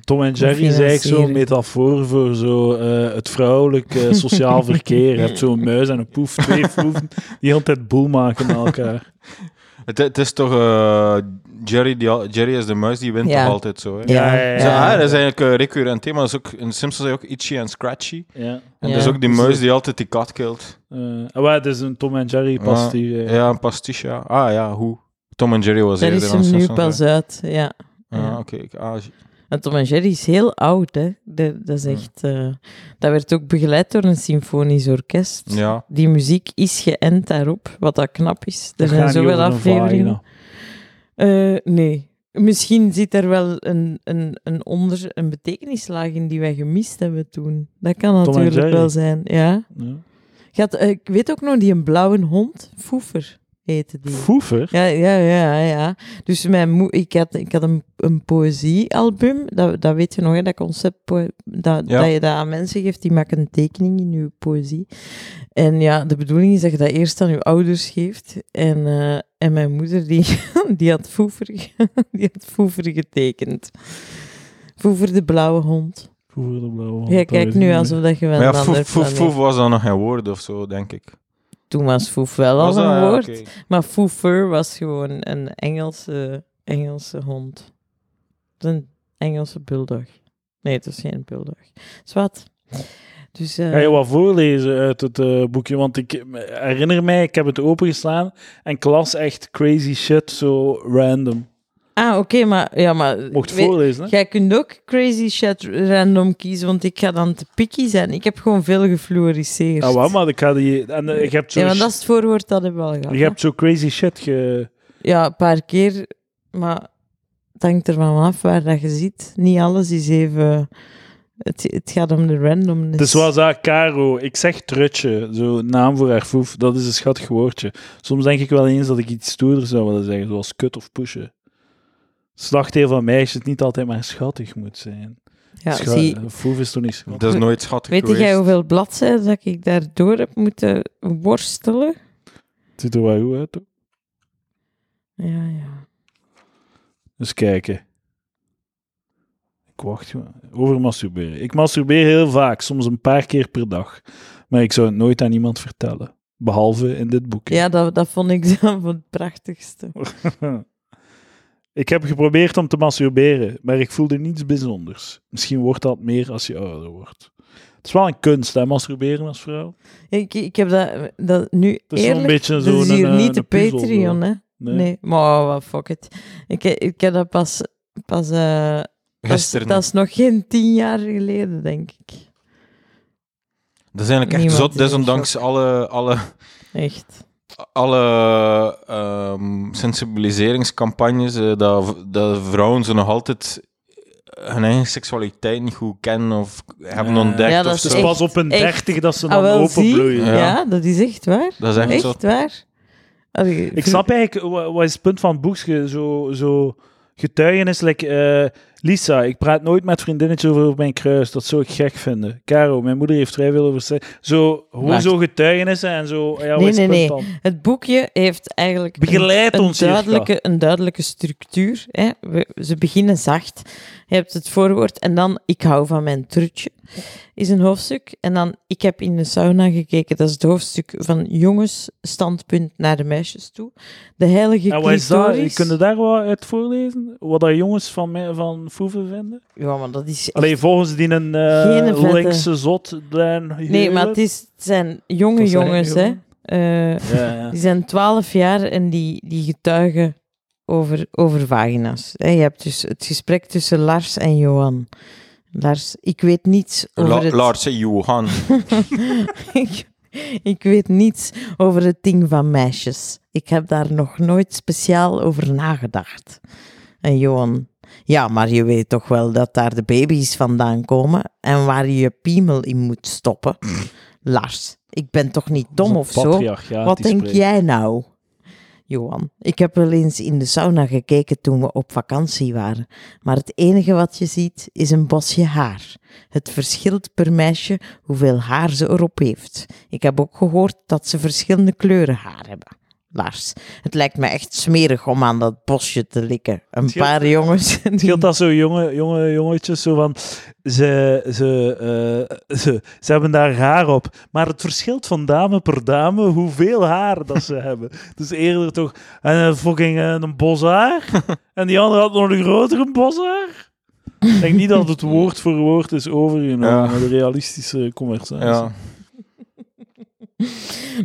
A: Tom en Jerry is eigenlijk zo'n
C: financiering.
A: metafoor voor zo, eh, het vrouwelijk eh, sociaal verkeer. Je hebt zo'n muis en een poef, twee poeven, die altijd boel maken met elkaar.
B: Het, het is toch eh, Jerry, die, al- Jerry is de muis, die wint
C: Ja.
B: toch altijd zo. Hè?
A: Ja,
C: ja,
A: ja, ja.
B: Zo, ah,
A: Ja,
B: dat is eigenlijk een recurrent thema. Dat is ook, in de Simpsons zijn ook Itchy en Scratchy.
A: Ja.
B: En
C: Ja.
B: dat is ook die
A: Dus
B: muis
A: de-
B: die altijd die kat kilt.
A: Eh, ah, maar het is een Tom en Jerry past hier. eh.
B: Ja, een pastiche. ja. Ah ja, hoe? Tom en Jerry was
C: daar
B: eerder
C: is
B: dan
C: hem nu
B: Simpsons,
C: pas
B: hè.
C: uit. Ja.
B: Ah, oké. ik- ah, j-
C: En Tom en Jerry is heel oud, hè. Dat, dat is echt... eh, dat werd ook begeleid door een symfonisch orkest.
B: ja.
C: Die muziek is geënt daarop, wat dat knap is. Er
A: Dat
C: zijn
A: gaat niet
C: zoveel
A: over een
C: afleveringen.
A: vagina.
C: Eh, nee. Misschien zit er wel een, een, een, onder, een betekenislaag in die wij gemist hebben toen. Dat kan
A: en
C: natuurlijk
A: Jerry.
C: wel zijn, ja.
A: Ja.
C: Gaat, eh, ik weet ook nog die een blauwe hond, Foefer, heette die.
A: Foever?
C: Ja, ja, ja, ja. Dus mijn moe, ik had, ik had een, een poëziealbum, dat, dat weet je nog, hè, dat concept, poë- dat,
B: Ja.
C: dat je dat aan mensen geeft, die maken een tekening in je poëzie. En ja, de bedoeling is dat je dat eerst aan je ouders geeft. En, eh, en mijn moeder, die, die, had foever, ge- die had foever getekend. Foever de blauwe hond.
A: Foever de blauwe hond.
C: Jij kijkt nu
A: als
C: alsof dat je wel
B: Maar ja,
C: een ander
B: foef, foef,
C: planeet-
B: foef was dan nog geen woord of zo, denk ik.
C: Toen was foef wel
B: was
C: al
B: dat?
C: een
B: Ja,
C: woord.
B: oké.
C: Maar Foo Fur was gewoon een Engelse, Engelse hond. Een Engelse bulldog. Nee, het was geen bulldog. Zwat. Dus, eh,
A: Ga je wat voorlezen uit het eh, boekje? Want ik herinner mij, ik heb het opengeslaan en ik las echt crazy shit, zo random.
C: Ah, oké, maar... Ja, maar
A: Mocht
C: weet-
A: voorlezen, hè?
C: Jij kunt ook crazy shit random kiezen, want ik ga dan te picky zijn. Ik heb gewoon veel gefluoriseerd.
A: Ah, wat, maar ik ga die... En, eh, je, hebt zo
C: Ja, want dat is het voorwoord dat hebben we al gehad.
A: je hebt zo crazy shit ge...
C: Ja, een paar keer, maar het hangt ervan af waar dat je ziet. Niet alles is even... Het, het gaat om de randomness.
A: Dus was dat Caro, ik zeg trutje, zo naam voor haar foef, dat is een schattig woordje. Soms denk ik wel eens dat ik iets stoerder zou willen zeggen, zoals kut of pushen. Slagdeel van meisjes niet altijd maar schattig moet zijn.
C: Ja,
A: Scha-
C: zie,
A: Foef is toch niet schattig?
B: Dat is nooit schattig
C: Weet
B: geweest.
C: jij hoeveel bladzijden dat ik daardoor heb moeten worstelen?
A: Het ziet er wel goed uit, toch?
C: Ja, ja.
A: Eens kijken. Ik wacht gewoon. Over masturberen. Ik masturbeer heel vaak, soms een paar keer per dag. Maar ik zou het nooit aan iemand vertellen. Behalve in dit boekje.
C: Ja, dat, dat vond ik dan van het prachtigste.
A: ik heb geprobeerd om te masturberen, maar ik voelde niets bijzonders. Misschien wordt dat meer als je ouder wordt. Het is wel een kunst, hè, masturberen als vrouw.
C: Ik, ik heb dat, dat nu
A: Het is zo'n
C: eerlijk...
A: beetje
C: Dat
A: zo'n...
C: is hier
A: eh,
C: niet de
A: een puzzel, zo.
C: Patreon, hè?
A: Nee.
C: Nee. Maar wat fuck it. Ik, ik heb dat pas... pas eh, dat, is,
B: Gisteren.
C: dat is nog geen tien jaar geleden, denk ik.
B: Dat is eigenlijk echt
C: Niemand
B: zot,
C: is in
B: desondanks alle, alle,
C: Echt.
B: alle ehm, sensibiliseringscampagnes, eh, dat, dat vrouwen ze nog altijd eh, hun eigen seksualiteit niet goed kennen of hebben
A: Ja.
B: ontdekt
C: Ja,
B: of
C: dat is
A: Het
B: zo.
A: is
C: echt-
A: pas op een
C: echt.
A: dertig dat ze
C: Ah,
A: dan
C: wel, zie.
A: openbloeien.
C: Ja.
B: Ja.
C: dat is echt waar.
B: Dat is echt,
C: Echt
B: zot.
C: waar. Allee,
A: Ik snap eigenlijk, wa- wat is het punt van het boekje? Zo, zo getuigenis, like, eh, Lisa, ik praat nooit met vriendinnetjes over mijn kruis. Dat zou ik gek vinden. Caro, mijn moeder heeft vrij veel over seks. Zo, gewoon
B: Wacht.
A: zo getuigenissen en zo. Ja, wat
C: Nee,
A: is het
C: nee,
A: punt
C: Het boekje heeft eigenlijk een-
A: Begeleid
C: een,
A: ons, Jirka.
C: duidelijke, een duidelijke structuur. Hè. We- ze beginnen zacht. Je hebt het voorwoord en dan ik hou van mijn trutje is een hoofdstuk. En dan ik heb in de sauna gekeken. Dat is het hoofdstuk van jongensstandpunt naar de meisjes toe. De heilige
A: dan? En wat is dat?
C: clitoris.
A: Kun je daar wat uit voorlezen? Wat dat jongens van, mij, van Foeven vinden?
C: Ja, maar dat is... echt-
A: Allee, volgens die een eh,
C: Geen vette.
A: linkse zot. Dan
C: nee, maar het, is, het zijn jonge
A: Dat zijn
C: jongens, hè.
A: jongen.
C: Eh,
A: Ja, ja.
C: Die zijn 12 jaar en die, die getuigen over, over vagina's. Hè, Je hebt dus het gesprek tussen Lars en Johan. Lars, ik weet niets over
B: La-
C: het...
B: Lars en Johan.
C: ik, ik weet niets over het ding van meisjes. Ik heb daar nog nooit speciaal over nagedacht. En Johan, ja, maar je weet toch wel dat daar de baby's vandaan komen en waar je je piemel in moet stoppen. Lars, ik ben toch niet dom of zo?
A: Patriarchaat
C: Wat
A: die
C: denk
A: spreekt.
C: jij nou? Johan, ik heb wel eens in de sauna gekeken toen we op vakantie waren. Maar het enige wat je ziet is een bosje haar. Het verschilt per meisje hoeveel haar ze erop heeft. Ik heb ook gehoord dat ze verschillende kleuren haar hebben. Lars, het lijkt me echt smerig om aan dat bosje te likken. Een
A: scheelt-
C: paar jongens.
A: Het scheelt dat zo jonge, jonge jongetjes zo van ze, ze, eh, ze, ze hebben daar haar op. Maar het verschilt van dame per dame hoeveel haar dat ze hebben. Dus eerder toch en een fucking eh, een boshaar. En die andere had nog een grotere boshaar. Ik denk niet dat het woord voor woord is overgenomen.
B: Ja.
A: maar De realistische conversatie.
B: Ja.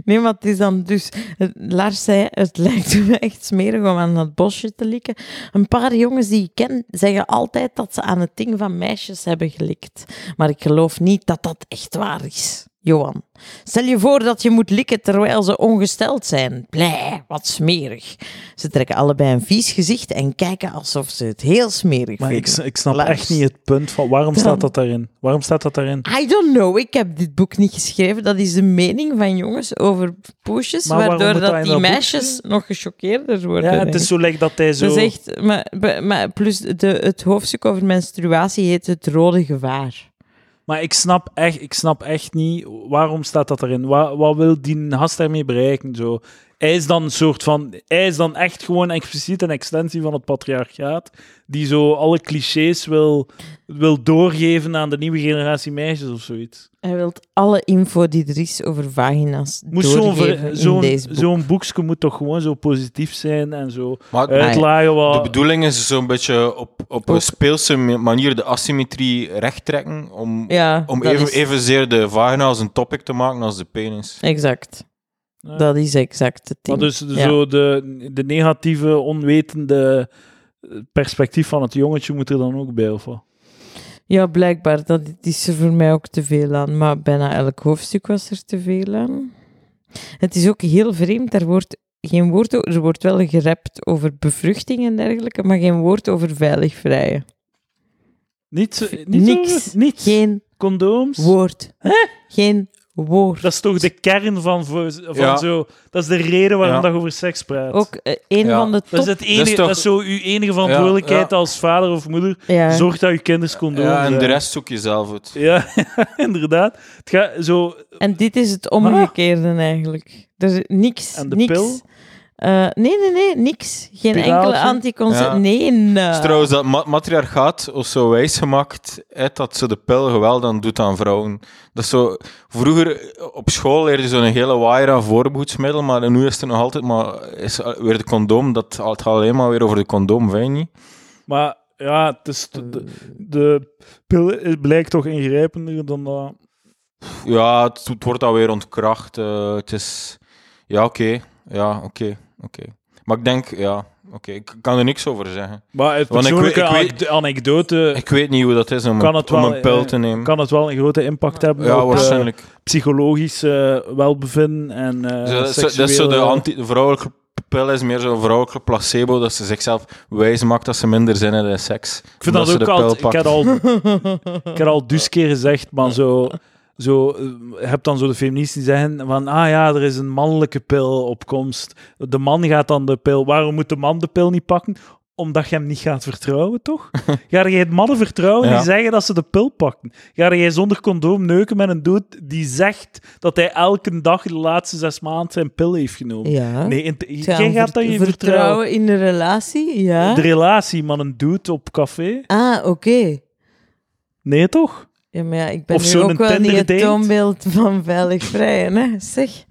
C: Nee, maar het is dan dus... eh, Lars zei, het lijkt me echt smerig om aan dat bosje te likken. Een paar jongens die ik ken, zeggen altijd dat ze aan het ding van meisjes hebben gelikt. Maar ik geloof niet dat dat echt waar is. Johan, stel je voor dat je moet likken terwijl ze ongesteld zijn. Blij, wat smerig. Ze trekken allebei een vies gezicht en kijken alsof ze het heel smerig
A: Maar ik,
C: vinden.
A: s- ik snap
C: Lars.
A: echt niet het punt van waarom
C: Dan-
A: staat dat daarin? Waarom staat dat daarin?
C: I don't know. Ik heb dit boek niet geschreven. Dat is de mening van jongens over poesjes,
A: Maar waarom
C: waardoor
A: moet dat
C: dat
A: in
C: die
A: dat boek
C: meisjes nog gechoqueerder worden.
A: Ja, het is zo lekker dat hij zo.
C: Dat is echt... Maar, be- maar plus de, het hoofdstuk over menstruatie heet Het Rode Gevaar.
A: Maar ik snap echt, ik snap echt niet waarom staat dat erin. Wat, wat wil die gast daarmee bereiken? Zo. Hij is dan een soort van. Hij is dan echt gewoon expliciet een extensie van het patriarchaat. Die zo alle clichés wil, wil doorgeven aan de nieuwe generatie meisjes of zoiets.
C: Hij wil alle info die er is over vagina's
A: Moest zo'n ver-
C: doorgeven in
A: zo'n
C: deze boek.
A: zo'n boekje moet toch gewoon zo positief zijn en zo.
B: Maar
A: Uitlagen
B: de
A: wat.
B: bedoeling is zo'n beetje op, op een
C: Ook.
B: speelse manier de asymmetrie recht trekken. Om,
C: ja,
B: om
C: dat
B: even,
C: is-
B: evenzeer de vagina als een topic te maken als de penis.
C: Exact.
A: Ja.
C: Dat is exact het ding.
A: Maar dus
C: Ja.
A: zo de, de negatieve, onwetende perspectief van het jongetje moet er dan ook bij of wat?
C: Ja, blijkbaar. Dat is er voor mij ook te veel aan. Maar bijna elk hoofdstuk was er te veel aan. Het is ook heel vreemd. Er wordt geen woord over. Er wordt wel gerept over bevruchting en dergelijke, maar geen woord over veilig vrijen.
A: Niet, zo- niet
C: Niks.
A: zo- niets.
C: Geen
A: Condooms?
C: woord. Geen woord.
A: Dat is toch de kern van, voor- van
B: Ja.
A: zo... Dat is de reden waarom
B: Ja.
A: dat je over seks praat.
C: Ook eh, een
B: Ja.
C: van de
A: dat
C: top...
A: is, het enige, dat is,
B: toch-
A: zo uw enige verantwoordelijkheid
B: Ja,
A: als vader of moeder.
C: Ja.
A: Zorg dat je kinders condooms
B: Ja, en de
A: hebben.
B: rest zoek je zelf uit.
A: Ja, inderdaad. Het gaat zo...
C: En dit is het omgekeerde eigenlijk. Er is niks.
A: Ah. En de
C: niks.
A: pil?
C: Eh, nee, nee, nee, niks. Geen enkele
A: Pilaaltje?
C: anticonceptie.
B: Ja.
C: Nee, nee.
B: is trouwens dat ma- matriarchaat of zo wijsgemaakt hè, dat ze de pil geweld aan doet aan vrouwen. Dat is zo, vroeger op school leerde je zo'n hele waaier aan voorbehoedsmiddel, maar nu is er nog altijd maar is er weer de condoom. Dat het gaat alleen maar weer over de condoom, vind je niet?
A: Maar ja, het is, de, de- de pil is- blijkt toch ingrijpender dan dat...
B: Ja, het, het wordt alweer ontkracht. eh, het is... Ja, oké. Ja, oké. oké. Maar ik denk... Ja, oké. Ik kan er niks over zeggen.
A: Maar uit
B: Want ik weet-
A: persoonlijke
B: ik weet-
A: ane- anekdote
B: Ik weet niet hoe dat is om,
A: Kan
B: een-
A: het wel,
B: om een pil
A: eh,
B: te nemen.
A: kan het wel een grote impact hebben
B: ja,
A: op eh,
B: waarschijnlijk.
A: psychologisch eh, welbevinden en eh,
B: Zo, dat is zo- dat is zo de
A: seksuele-
B: anti de vrouwelijke pil is meer zo'n vrouwelijke placebo dat ze zichzelf wijs maakt dat ze minder zin hebben in seks.
A: Ik vind dat,
B: Omdat
A: ook
B: ze de pil
A: altijd... Ik
B: pakt.
A: heb al, ik heb al dus keer gezegd, maar zo... Zo, eh, je hebt dan zo de feministen die zeggen van, ah ja, er is een mannelijke pil op komst. De man gaat dan de pil. Waarom moet de man de pil niet pakken? omdat je hem niet gaat vertrouwen, toch? Ga jij het mannen vertrouwen
B: Ja.
A: die zeggen dat ze de pil pakken? Ga jij zonder condoom neuken met een dude die zegt dat hij elke dag de laatste zes maanden zijn pil heeft genomen?
C: Ja.
A: Nee, in, jij
C: Gaan
A: gaat
C: vert-
A: dat je vertrouwen.
C: vertrouwen in de relatie, ja.
A: De relatie, man, een dude op café?
C: Ah, oké.
A: Nee, toch?
C: Ja, maar ja, ik ben
A: Of
C: nu
A: zo'n
C: ook wel niet het
A: Tinder-date.
C: toonbeeld van veilig vrijen, hè. Zeg,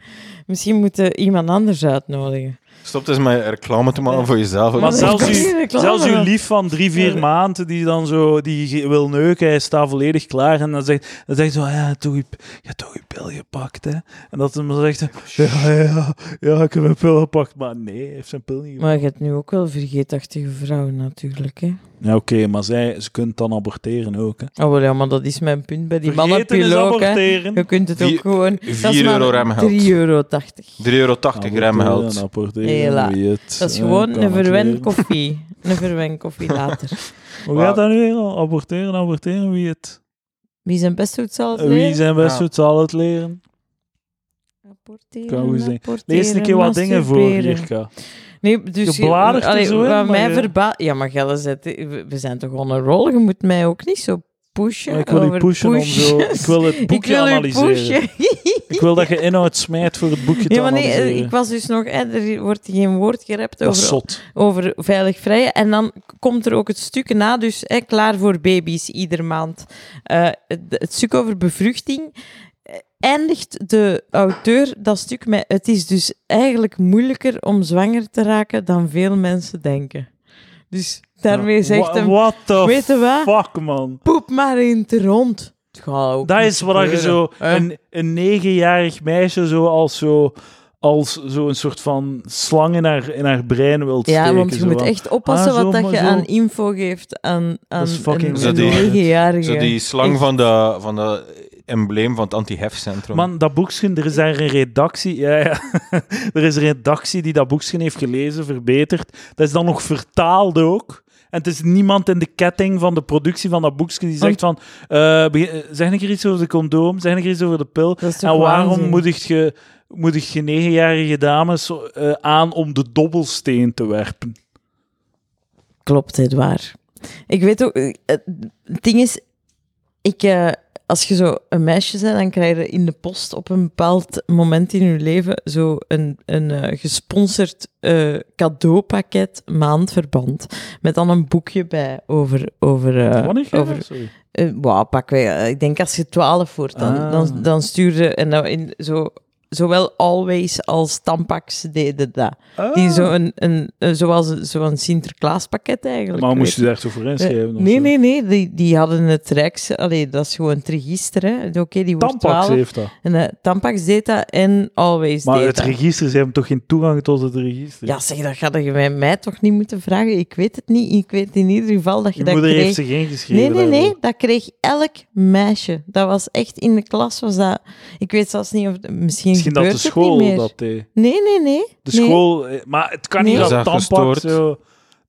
C: misschien moeten we iemand anders uitnodigen.
B: Stop eens met reclame te maken voor jezelf. dus
A: Maar
C: dat
A: zelfs, u,
C: is geen reclame.
A: zelfs uw lief van drie, vier
C: Ja.
A: maanden die dan zo die ge- wil neuken, hij staat volledig klaar en dan zegt, dan zegt hij zo, "Ah, ja, toch je, je hebt toch je pil gepakt, hè? En dat hij dan zegt, ja, ja, ja, ik heb mijn pil gepakt, maar nee, hij heeft zijn pil niet gepakt.
C: Maar je hebt nu ook wel vergeetachtige vrouwen natuurlijk, hè.
D: Ja, oké, maar zij, ze kunt dan aborteren ook. Hè.
C: Oh, wel, ja, maar dat is mijn punt bij die
A: Vergeten is
C: mannenpil ook, hè.
A: aborteren.
C: Je kunt het
B: Vier-
C: ook gewoon...
B: vier
C: dat is maar
B: euro Dus, remgeld.
C: 3,80 euro. Dat
B: 3,80 euro
A: Ah,
D: Aborteren,
B: remheld.
D: aborteren,
C: Hela.
D: wie het,
C: is
D: eh,
C: gewoon
D: kan
C: een verwend
D: leren.
C: koffie. Een verwend koffie later.
A: Hoe gaat dat nu weer? al? Aborteren, aborteren, wie het...
C: Wie zijn best doet, zal het
A: Wie
C: leren.
A: zijn best
B: Ja.
A: doet, zal het leren.
C: Apporteren,
A: Kan goed zijn.
C: apporteren,
A: Lees een keer wat dingen voor,
C: masturberen.
A: Jirka.
C: Nee, dus
A: Je bladert er
C: allee,
A: zo in,
C: wat
A: maar
C: mij
A: je-
C: verbaast... Ja, maar Gelle, zet- we zijn toch on een rol? Je moet mij ook niet zo pushen.
A: Maar ik wil u
C: over
A: pushen om zo... Ik
C: pushes.
A: wil het
C: Ik
A: boekje
C: wil u
A: analyseren.
C: pushen.
A: Ik wil dat je inhoud smijt voor het boekje te
C: Ja, maar nee,
A: analyseren.
C: eh, ik was dus nog... eh, Er wordt geen woord gerept
D: Dat is
C: over,
D: zot.
C: over veilig vrij. En dan k- komt er ook het stuk na, dus eh, klaar voor baby's ieder maand. Eh, het, het stuk over bevruchting eh, eindigt de auteur dat stuk met... Het is dus eigenlijk moeilijker om zwanger te raken dan veel mensen denken. Dus daarmee zegt
A: Wha-
C: hem...
A: What the
C: Weet je wat?
A: fuck, man.
C: poep maar in het rond. Het gaat ook
A: Dat
C: niet
A: is wat je
C: gebeuren.
A: zo...
C: Eh.
A: Een, een negenjarig meisje zo als zo... Als zo'n soort van slang in haar, in haar brein wilt steken.
C: Ja, want je
A: zo
C: moet
A: van,
C: echt oppassen
A: Ah, zo,
C: wat dat
A: maar
C: je
A: zo.
C: aan info geeft aan, aan
A: Dat is fucking
C: een,
B: Zo
C: een
B: die-
C: negenjarige.
B: Zo die slang
C: Echt.
B: van dat van dat embleem van het anti-hefcentrum.
A: Man, dat boekje, er is daar een redactie... Ja, ja. er is een redactie die dat boekje heeft gelezen, verbeterd. Dat is dan nog vertaald ook. En het is niemand in de ketting van de productie van dat boekje die zegt van... eh, begin- zeg een keer iets over de condoom, zeg een keer iets over de pil.
C: Dat is toch
A: En waarom
C: waanzin?
A: moedigt je, moedigt je negenjarige dames eh, aan om de dobbelsteen te werpen?
C: Klopt, het waar. Ik weet ook... eh, Het ding is, ik, eh, als je zo een meisje bent, dan krijg je in de post op een bepaald moment in je leven zo een, een eh, gesponsord eh, cadeaupakket maandverband. Met dan een boekje bij over... over eh,
A: Wanneer ga je
C: over
A: dat? Sorry.
C: eh wauw, pak wij, eh, ik denk als je 12 wordt, dan,
A: Ah.
C: dan, dan stuurde en dan in zo, zowel Always als Tampax deden dat.
A: Ah.
C: Die zo een, een, eh, zoals een- zo'n Sinterklaaspakket eigenlijk.
A: Maar
C: weet
A: moest je daar zo voor
C: je.
A: inschrijven?
C: Eh,
A: of
C: Nee,
A: zo?
C: nee, nee, die, die hadden het Rijks, allee, dat is gewoon het register, hè. Oké, die wordt
A: Tampax
C: 12.
A: heeft dat.
C: En, eh, Tampax deed dat en Always
A: Maar
C: deed
A: het
C: dat.
A: register, ze hebben toch geen toegang tot het register?
C: Ja, zeg, dat ga je bij mij toch niet moeten vragen. Ik weet het niet. Ik weet in ieder geval dat je
A: Je
C: dat
A: moeder
C: kreeg.
A: heeft zich ingeschreven.
C: Nee, nee, nee.
A: daarvoor.
C: Dat kreeg elk meisje. Dat was echt in de klas. Was dat... Ik weet zelfs niet of. Misschien,
A: Misschien dat
C: gebeurt
A: de
C: het niet
A: school
C: meer.
A: dat deed.
C: Nee, nee, nee.
A: De
C: Nee.
A: school... eh, Maar het kan niet
C: Nee.
A: dat
B: Dat is
A: Tampax
B: gestoord.
A: zo...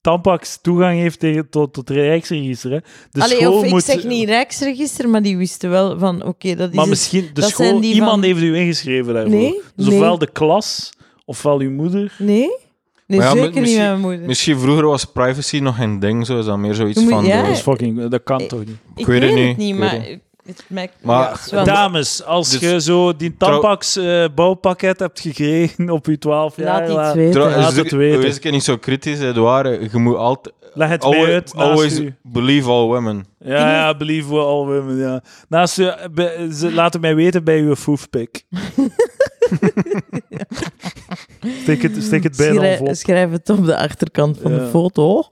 A: Tampax toegang heeft tegen, tot, tot het Rijksregister. Hè. De
C: Allee,
A: school
C: of ik
A: moet,
C: zeg niet Rijksregister, maar die wisten wel van. Oké, dat is.
A: Maar
C: het.
A: misschien, de
C: dat
A: school,
C: zijn die
A: iemand
C: van-
A: heeft u ingeschreven daarvoor.
C: Nee,
A: dus
C: nee.
A: ofwel de klas, ofwel uw moeder.
C: Nee? Nee,
B: Maar ja,
C: zeker niet
B: misschien-
C: mijn moeder.
B: Misschien vroeger was privacy nog geen ding, zo is dat meer zoiets
C: Je eh, moet-
B: van.
C: ja.
B: eh,
A: Dat, is fucking, dat kan
C: Ik-
A: toch niet?
C: Ik
B: weet het niet, ik weet
C: maar.
B: het
C: Het maakt,
B: Maar-
C: ja, het is wel-
A: Dames, als
B: Dus-
A: je zo die
B: Trouw-
A: Tampax eh, bouwpakket hebt gekregen op je 12 jaar,
C: Laat iets
A: laat-
C: weten.
B: trouw-
A: laat
B: is-
A: het weten.
B: Wees ik niet zo kritisch, Edouard. eh, Je moet altijd.
A: leg het mij
B: Always,
A: uit naast
B: always
A: u.
B: believe all women.
A: Ja, ja, believe we all women, ja. Naast u, be- ze- laat het mij weten bij uw foefpik. stik, het, stik Dus het bij een
C: Schrij-
A: envelop.
C: schrijf het op de achterkant van de
A: Ja.
C: foto.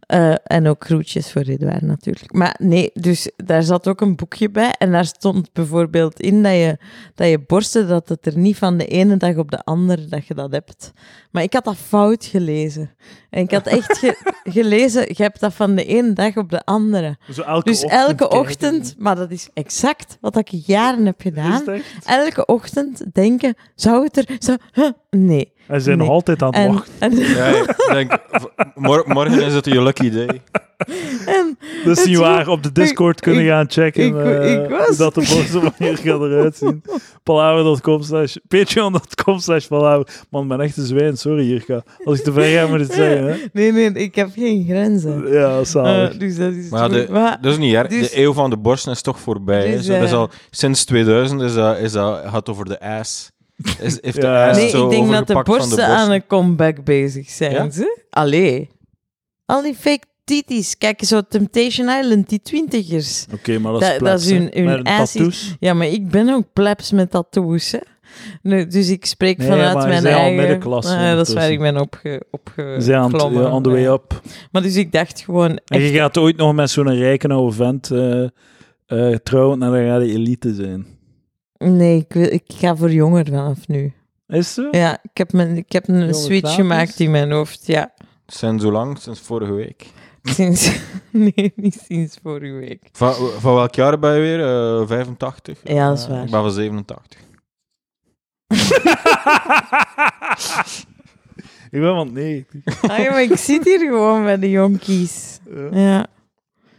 C: Eh, en ook groetjes voor Edouard natuurlijk. Maar nee, dus daar zat ook een boekje bij. En daar stond bijvoorbeeld in dat je, dat je borsten, dat het er niet van de ene dag op de andere dat je dat hebt. Maar ik had dat fout gelezen. En ik had echt ge- gelezen, je hebt dat van de ene dag op de andere.
A: Zo elke
C: Dus
A: ochtend
C: elke
A: kijken.
C: ochtend, maar dat is exact wat ik jaren heb
A: Is
C: gedaan
A: het echt?
C: elke ochtend denken: zou het er. Zou, huh, Nee.
E: En ze zijn
C: Nee.
E: nog altijd aan het
C: En,
E: wachten.
C: en,
B: Ja, ik denk, v- mor- morgen is het je lucky day.
C: en
E: Dat is niet
C: het is-
E: waar. Op de Discord
C: ik-
E: kunnen
C: ik-
E: gaan checken
C: ik-
E: eh,
C: ik was-
E: hoe dat de volgende manier gaat eruit zien. Palaver.com slash patreon.com slash palaver. Man, ik ben echt een zwijn. Sorry, Jirka. Als ik te ver ga, moet ik het zeggen. Hè? Oh,
C: nee, nee, ik heb geen grenzen.
E: Ja, zalig.
C: Eh, dus dat is
B: Maar
C: goed.
B: de- Dat is niet erg.
C: Dus-
B: de eeuw van de borsten is toch voorbij. hè.
C: Dus,
B: Zo, dat is
C: eh,
B: al, sinds 2000 is dat, is dat, gaat over de ass. Is, heeft de
E: Ja.
B: ass
C: nee,
B: zo
C: ik denk dat de
B: overgepakt
C: borsten,
B: van
C: aan een comeback bezig zijn.
B: Ja?
C: Ze? Allee. Al die fake titties. Kijk, zo Temptation Island, die twintigers.
A: Oké, maar dat is
C: Dat- dat
A: plats,
C: is hun-
A: hè.
C: hun
A: Met een
C: ass is-
A: tattoos.
C: Ja, maar ik ben ook plebs met tattoos, hè. Nu, dus ik spreek
E: Nee,
C: vanuit
E: maar
C: mijn
E: zij al
C: eigen...
E: middenklasse
C: Ah, dat is waar
E: ondertussen.
C: ik ben opge,
E: Ze zijn aan het,
C: opgeklommen.
E: eh, on the way
C: Ja.
E: up.
C: Maar dus ik dacht gewoon
A: En
C: echt...
A: je gaat ooit nog met zo'n rijke oude vent eh, eh, trouwen en dan ga je elite zijn.
C: Nee, ik, wil- ik ga voor jonger vanaf nu.
A: Is ze?
C: Ja, ik heb, mijn, ik heb een
A: Jonge
C: switch
A: knaapjes?
C: gemaakt in mijn hoofd, ja.
B: borst. Sinds hoe lang? Sinds vorige week.
C: Sinds... Nee, niet sinds vorige week.
B: Van, van welk jaar ben je weer? Eh, 85?
C: Ja, dat is
A: Ah,
C: waar.
B: Ik ben van 87.
A: Ik ben want nee.
C: Ah, ja, maar ik zit hier gewoon bij de jonkies.
B: Eh,
C: Ja.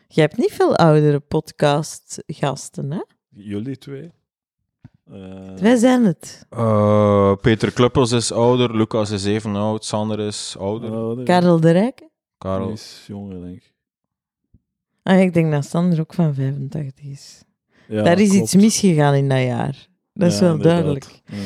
C: Je hebt niet veel oudere podcastgasten, hè?
A: Jullie twee. Eh,
C: Wij zijn het.
B: Eh, Peter Kluppels is ouder, Lucas is even oud, Sander is ouder,
A: ouder.
C: Karel de Rijk.
B: Karel.
A: Die is jonger, denk ik.
C: Ah, ik denk dat Sander ook van 85 is.
A: Ja,
C: Daar is
A: klopt.
C: iets misgegaan in dat jaar. Dat is
A: Ja,
C: wel
A: inderdaad.
C: duidelijk.
A: Ja.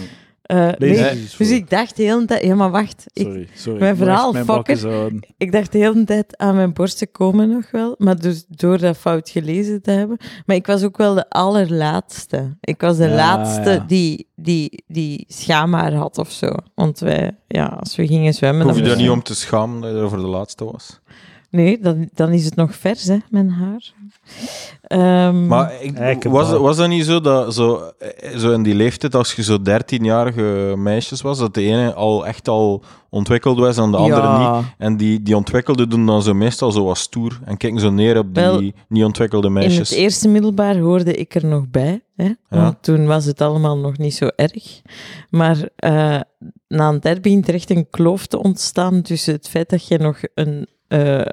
C: Eh,
A: Lees
C: nee,
A: eens iets
C: dus
A: voor.
C: ik dacht de hele tijd... Ja, maar wacht. Ik,
A: Sorry, sorry.
C: mijn
A: Ik moet
C: verhaal,
A: echt mijn bakjes
C: fucker.
A: houden.
C: ik dacht de hele tijd aan mijn borsten komen nog wel. Maar dus door dat fout gelezen te hebben. Maar ik was ook wel de allerlaatste. Ik was de
A: Ja,
C: laatste
A: ja.
C: die, die, die schaamhaar had of zo. Want wij... Ja, als we gingen zwemmen...
B: Hoef je
C: dan
B: daar
C: was-
B: niet om te schamen dat je er voor de laatste was.
C: Nee, dan, dan is het nog vers, hè, mijn haar. Ehm,
B: Maar ik,
E: Eikenbouw.
B: was, was dat niet zo dat zo, eh, zo in die leeftijd, als je zo 13-jarige meisjes was, dat de ene al echt al ontwikkeld was en de andere
C: ja.
B: niet? En die, die ontwikkelde doen dan zo meestal zo wat stoer en kijken zo neer op die
C: Wel,
B: niet ontwikkelde
C: In
B: meisjes.
C: het e- eerste middelbaar hoorde ik er nog bij. Hè? Want toen was het allemaal nog niet zo erg. Maar eh, na een tijd begint er echt een kloof te ontstaan tussen het feit dat je nog een, eh,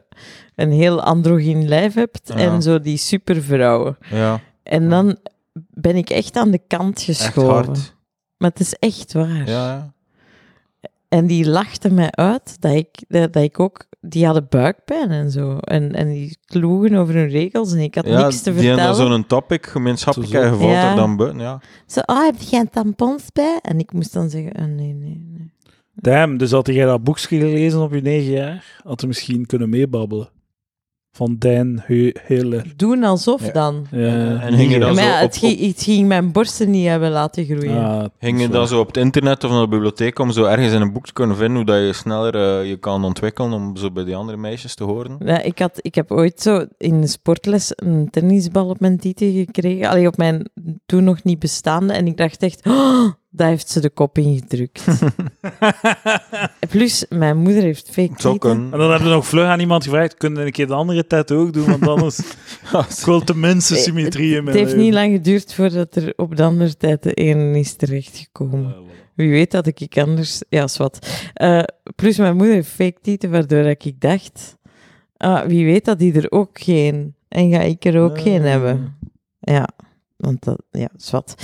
C: een heel androgyn lijf hebt
B: Ja.
C: en zo die supervrouwen.
B: Ja,
C: En dan ben ik echt aan de kant
B: echt
C: geschoven.
B: hard.
C: Maar het is echt waar.
B: Ja, ja.
C: En die lachten mij uit dat ik, dat, dat ik ook... Die hadden buikpijn en zo. En, en die kloegen over hun regels en ik had
B: ja
C: niks te
B: die hebben
C: vertellen.
B: dan zo'n topic gemeenschappelijk en je valt
C: Ja.
B: er dan buiten. Ja.
C: Zo, ah, heb je geen tampons bij? En ik moest dan zeggen, ah, nee, nee, nee.
A: Damn, dus had jij dat boekje gelezen op je negen jaar, had je misschien kunnen meebabbelen. Van Dan He- Heuler.
C: Doen alsof
B: Ja.
C: dan.
A: Ja,
B: en hingen dan
C: maar
B: zo
C: ja,
B: op,
C: het, ging, het ging mijn borsten niet hebben laten groeien.
A: Ah,
B: Hingen
A: dat
B: dan
A: is
B: zo op het internet of naar de bibliotheek om zo ergens in een boek te kunnen vinden hoe dat je sneller eh, je kan ontwikkelen om zo bij die andere meisjes te horen?
C: Ja, ik, had, ik heb ooit zo in de sportles een tennisbal op mijn tieten gekregen. Alleen op mijn toen nog niet bestaande. En ik dacht echt, oh, daar heeft ze de kop in gedrukt. Plus, mijn moeder heeft fake
B: Het zou
C: tieten.
B: kunnen.
E: En dan hebben we nog vlug aan iemand gevraagd, kunnen we een keer de andere tet ook doen? Want anders ik wil tenminste symmetrie in
C: Het
E: mijn
C: heeft
E: leven.
C: niet lang geduurd voordat er op de andere tijd de ene is terechtgekomen.
A: waar. Eh,
C: Wie weet dat ik ik anders... Ja, is wat. Eh, plus mijn moeder heeft fake tieten, waardoor dat ik dacht... Ah, wie weet dat die er ook geen... En ga ik er ook
A: Ah.
C: geen hebben. Ja, want dat... Ja, is wat.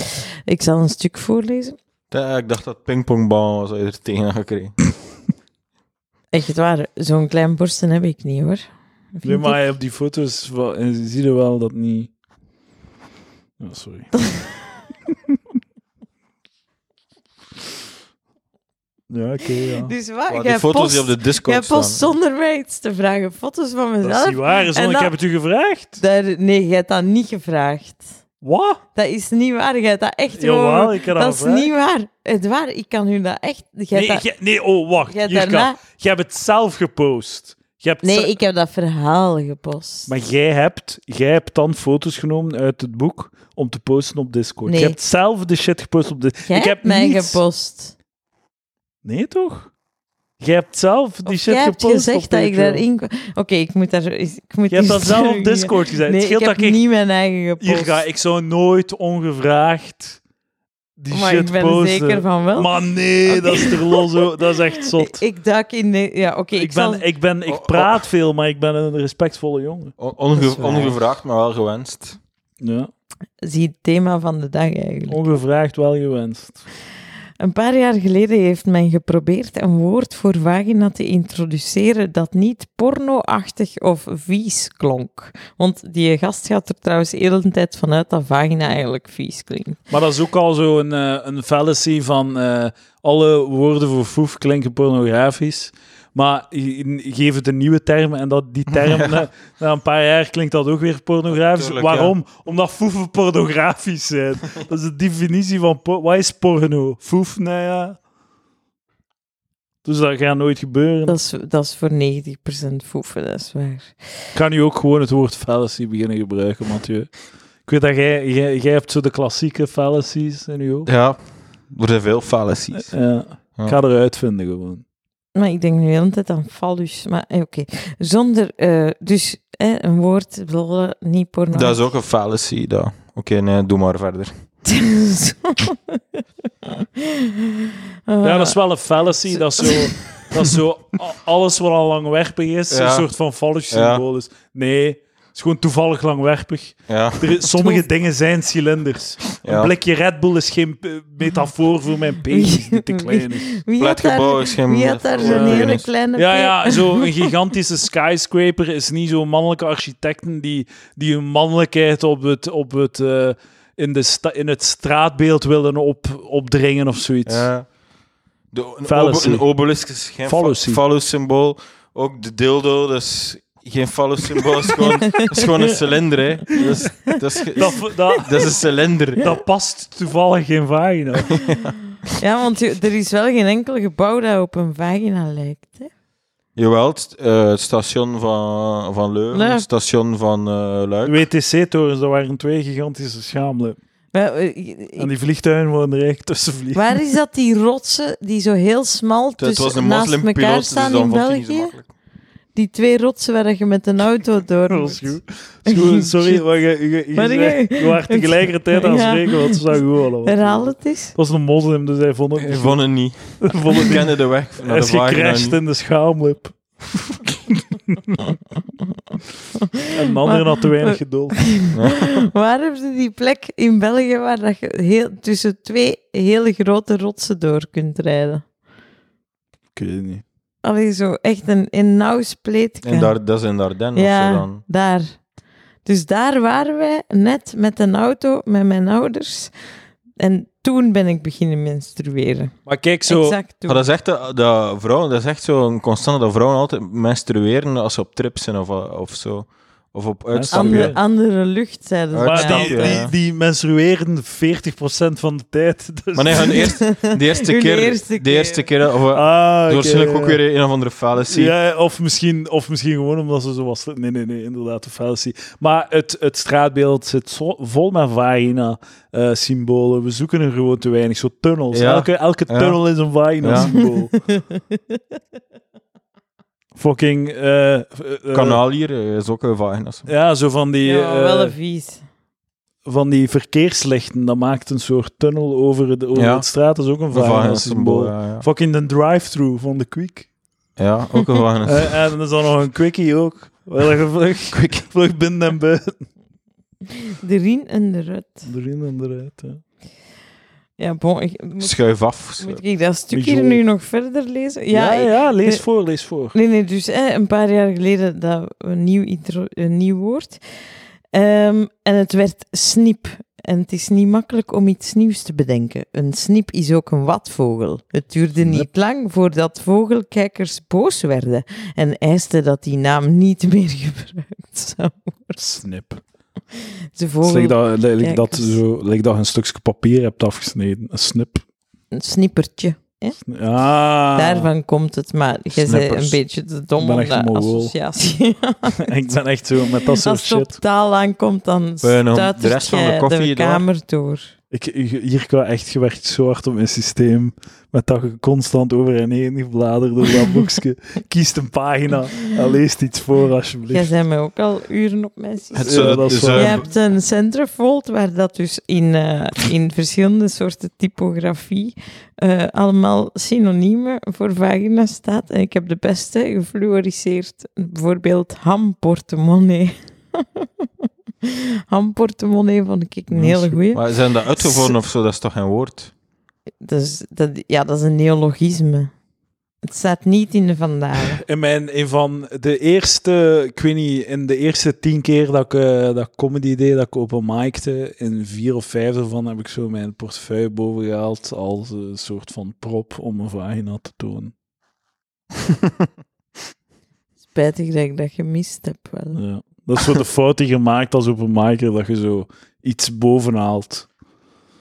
C: Ik zal een stuk voorlezen.
B: Ja, ik dacht dat pingpongbal was dat je er tegen had gekregen.
C: Echt waar, zo'n klein borsten heb ik niet, hoor. Vind
A: Nee,
C: ik.
A: maar op die foto's wel- en je ziet er wel dat niet... Oh, sorry. ja, oké, ja.
C: Dus wat?
B: Maar
C: jij
B: die foto's
C: post,
B: die op de
C: jij
B: Discord staan.
C: post zonder mij iets te vragen. Foto's van
E: Dat is niet
C: mezelf.
E: waar, Zon,
C: En
E: ik
C: dan-
E: heb het u gevraagd.
C: Daar, nee, jij hebt dat niet gevraagd.
E: Wat?
C: Dat is niet waar, jij hebt dat echt gewoon-
E: Jawel, ik heb dat
C: Dat is
E: gevraagd.
C: niet waar. Het waar, ik kan u dat echt... jij hebt
E: Nee,
C: dat-
E: jij- nee, oh, wacht.
C: Jij
E: Jirka,
C: daarna-
E: jij hebt het zelf gepost. Jij hebt ze-
C: Nee, ik heb dat verhaal gepost.
E: Maar jij hebt, jij hebt dan foto's genomen uit het boek om te posten op Discord.
C: Nee.
E: Je hebt zelf de shit gepost op Discord.
C: Jij
E: ik heb
C: hebt mij
E: niets-
C: gepost.
E: Nee, toch? Jij hebt zelf die
C: Of
E: shit
C: jij hebt
E: gepost op
C: gezegd dat ik
E: Patreon.
C: daarin... kwam. Oké, ik moet daar... Ik moet
E: Je hebt dat
C: iets
E: zelf op
C: terug-
E: Discord gezegd.
C: Nee,
E: het
C: ik
E: scheelt
C: heb
E: dat ik...
C: niet mijn eigen gepost.
E: Hier ga, ik zou nooit ongevraagd
A: die
C: maar
A: shit
C: ik ben
A: posten.
C: zeker van wel.
A: Maar nee, dat is er los. hoor. Dat is echt zot.
C: Ik duik in de... Ja, oké.
A: Ik,
C: ik
A: ben,
C: zal...
A: ik, ben,
B: Oh, oh.
A: ik praat veel, maar ik ben een respectvolle jongen.
B: O- onge-
C: Dat is waar.
B: ongevraagd, maar wel gewenst.
A: Ja.
C: Zie het thema van de dag eigenlijk.
A: Ongevraagd wel gewenst.
C: Een paar jaar geleden heeft men geprobeerd een woord voor vagina te introduceren dat niet pornoachtig of vies klonk. Want die gast gaat er trouwens de hele tijd vanuit dat vagina eigenlijk vies klinkt.
A: Maar dat is ook al zo'n eh een fallacy van eh, alle woorden voor foef klinken pornografisch. Maar je- je- geef het een nieuwe term en dat, die term, na, na een paar jaar klinkt dat ook weer pornografisch.
B: Tuurlijk,
A: Waarom? Omdat foeven pornografisch zijn. dat is de definitie van... por- Wat is porno? Foef, nou ja... Dus dat gaat nooit gebeuren.
C: Dat is, dat is voor 90% foeven, dat is waar.
A: Ik ga nu ook gewoon het woord fallacy beginnen gebruiken, Mathieu. Ik weet dat jij, jij, jij hebt zo de klassieke fallacies in je hoofd.
B: Ja, er zijn veel fallacies.
A: Ja. Ik ga eruit vinden gewoon.
C: Maar ik denk nu de hele tijd aan fallus. Maar eh, oké, zonder... eh, dus eh, een woord, blablabla, niet porno.
B: Dat is ook een fallacy, dat. Oké, nee, doe maar verder.
C: Ah.
A: Ja, dat is wel een fallacy. Dat is zo, dat is zo a- alles wat al langwerpig is,
B: Ja.
A: een soort van fallacy symbool is. Nee, het is gewoon toevallig langwerpig.
B: Ja,
A: Er is- sommige dingen zijn cilinders. Een
B: ja.
A: blikje Red Bull is geen eh, metafoor voor mijn penis die te klein is.
C: Wie had
B: Flatgebouw
C: daar,
B: is geen-
C: wie had daar
B: eh,
C: zo'n
A: Ja.
C: hele kleine...
A: Ja,
C: pe-
A: ja, zo'n gigantische skyscraper is niet zo'n mannelijke architecten die, die hun mannelijkheid op het, op het, eh, in, de sta- in het straatbeeld willen op, opdringen of zoiets.
B: Ja. De, een,
A: Fallacy.
B: obe- een obelisk is geen
A: Fallacy.
B: symbool. Ook de dildo, dat is geen fallus symbool. Dat is gewoon, dat is gewoon een cilinder, hè. Dat is, dat is, ge-
A: Dat, dat,
B: dat is een cilinder.
A: dat past toevallig geen vagina.
C: Ja, want je- er is wel geen enkel gebouw dat op een vagina lijkt. Hè?
B: Jawel, het, eh, het station van, van Leuven,
C: Leuven.
B: het station van eh Luik.
A: WTC-torens, dat waren twee gigantische schamelen.
C: Maar, eh,
A: En die vliegtuigen worden er echt tussen vliegen.
C: waar is dat die rotsen die zo heel smal
B: Het was
C: tussen-
B: een
C: Dus naast
B: moslimpiloot,
C: elkaar
B: dus
C: staan
B: dan
C: in
B: vond hij niet zo
C: België?
B: makkelijk.
C: Die twee rotsen waar je met een auto door
A: Dat
C: moet.
A: is goed. Dat is goed, Sorry,
C: Shit.
A: maar je, je, je,
C: Maar die-
A: zei- je was tegelijkertijd aan het
C: Ja.
A: spreken, want het zou gewoon allemaal.
C: Herhaal het eens.
A: Dat was een moslim, dus hij vond het
B: Ik
A: niet
B: vond het niet.
A: vond
B: Ik
A: het niet
B: kende de weg naar
A: Hij
B: de
A: is
B: vagina
A: gecrashed
B: niet.
A: in de schaamlip. en de ander
C: Maar-
A: had te weinig geduld.
C: Waar hebben ze die plek in België waar dat je heel, tussen twee hele grote rotsen door kunt rijden?
A: Ik weet het niet.
C: Allee, zo echt een, een nauw spleet.
B: En daar, dat is in de Ardennen of
C: Ja,
B: zo dan.
C: daar. Dus daar waren wij net met een auto met mijn ouders. En toen ben ik beginnen menstrueren.
A: Maar kijk, zo, Ah,
C: exact toen.
B: Maar dat is echt, dat, dat vrouwen, dat is echt zo'n constante dat vrouwen altijd menstrueren als ze op trip zijn of, eh, of zo. Of op uitstapje.
C: andere,
A: Uitstapje.
C: andere lucht, zeiden ze.
A: maar
B: Uitstapje,
A: die, eh, die,
B: ja.
A: die menstrueren 40% van de tijd. Dus.
B: Maar nee, hun eerst, de eerste
C: Hun
B: keer,
C: eerste
B: de
C: keer.
B: eerste keer, of, eh,
A: Ah, oké,
B: waarschijnlijk ook
A: ja.
B: weer een of andere fallacy.
A: Ja, of misschien, of misschien gewoon omdat ze zo was. Nee, nee, nee, inderdaad, de fallacy. Maar het, het straatbeeld zit zo- vol met vagina-symbolen. We zoeken er gewoon te weinig. Zo tunnels.
B: Ja.
A: Elke, elke
B: Ja.
A: tunnel is een vagina-symbool. Fucking... eh, eh, eh,
B: Kanaal hier eh, is ook een vagina.
A: Ja, zo van die,
C: Ja, maar
A: eh,
C: wel een vies.
A: van die verkeerslichten. Dat maakt een soort tunnel over de over
B: Ja.
A: het straat. Dat is ook een
B: Een
A: vagina-symbool.
B: vagina-symbool, ja, ja.
A: Fucking de drive-thru van de Quick.
B: Ja, ook een vagina.
A: Eh, en er is dan nog een quickie ook. Wel een vlug, vlug binnen en buiten.
C: De Rien en de Rut.
A: Erin en eruit. Ja.
C: Ja, bon. ik- moet,
B: Schuif af.
C: moet ik dat stukje
A: Mijol.
C: nu nog verder lezen?
A: Ja, ja,
C: ik-
A: lees
C: eh,
A: voor, lees voor.
C: Nee, nee, dus hè, een paar jaar geleden dat een nieuw, intro, een nieuw woord. Ehm, en het werd sniep. En het is niet makkelijk om iets nieuws te bedenken. Een sniep is ook een watvogel. Het duurde niet lang voordat vogelkijkers boos werden en eisten dat die naam niet meer gebruikt zou worden.
A: Snip.
C: De
A: Het is
C: vogel,
A: dat,
C: Oh, Kijk
A: dat,
C: eens.
A: zo, like dat je een stukje papier hebt afgesneden. Een snip.
C: een snippertje.
A: Ah,
C: Daarvan komt het, maar jij bent
B: Snippers.
C: een beetje te dom
A: Ik ben
C: om
A: echt
C: de
A: een Mongool.
C: associatie.
A: ik ben echt zo met dat soort
C: Als het op
A: shit.
C: taal aankomt, dan
B: Wil je nog
C: stuit
B: de rest van de koffie
C: de
B: door?
C: kamer door.
A: Ik, hier kwam echt gewerkt zo hard op mijn systeem. Met dat je constant over en heen bladert door dat boekje. Kiest een pagina en leest iets voor,
C: Jij
A: alsjeblieft.
C: bent mij ook al uren op mijn systeem.
B: Het, zo-
A: Ja, dat is
B: dus,
A: waar.
C: Je
B: eh,
C: hebt een centerfold waar dat dus in, eh, in verschillende soorten typografie eh, allemaal synoniemen voor vagina staat. En ik heb de beste gefluoriseerd. Bijvoorbeeld hamportemonnee. hamportemonnee vond ik een
A: Dat is
C: hele goeie.
B: maar zijn dat uitgevonden of zo? Dat is toch geen woord?
C: Dus dat, ja, dat is een neologisme. Het staat niet in de vandaag.
A: In mijn, een van de eerste, ik weet niet, in de eerste tien keer dat ik eh, dat comedy deed, dat ik open mic'te, in vier of vijf ervan heb ik zo mijn portefeuille boven gehaald als een soort van prop om een vagina te tonen.
C: Spijtig dat ik dat gemist heb. Wel.
A: Ja. Dat is zo de fout die je maakt als open micer, dat je zo iets boven haalt.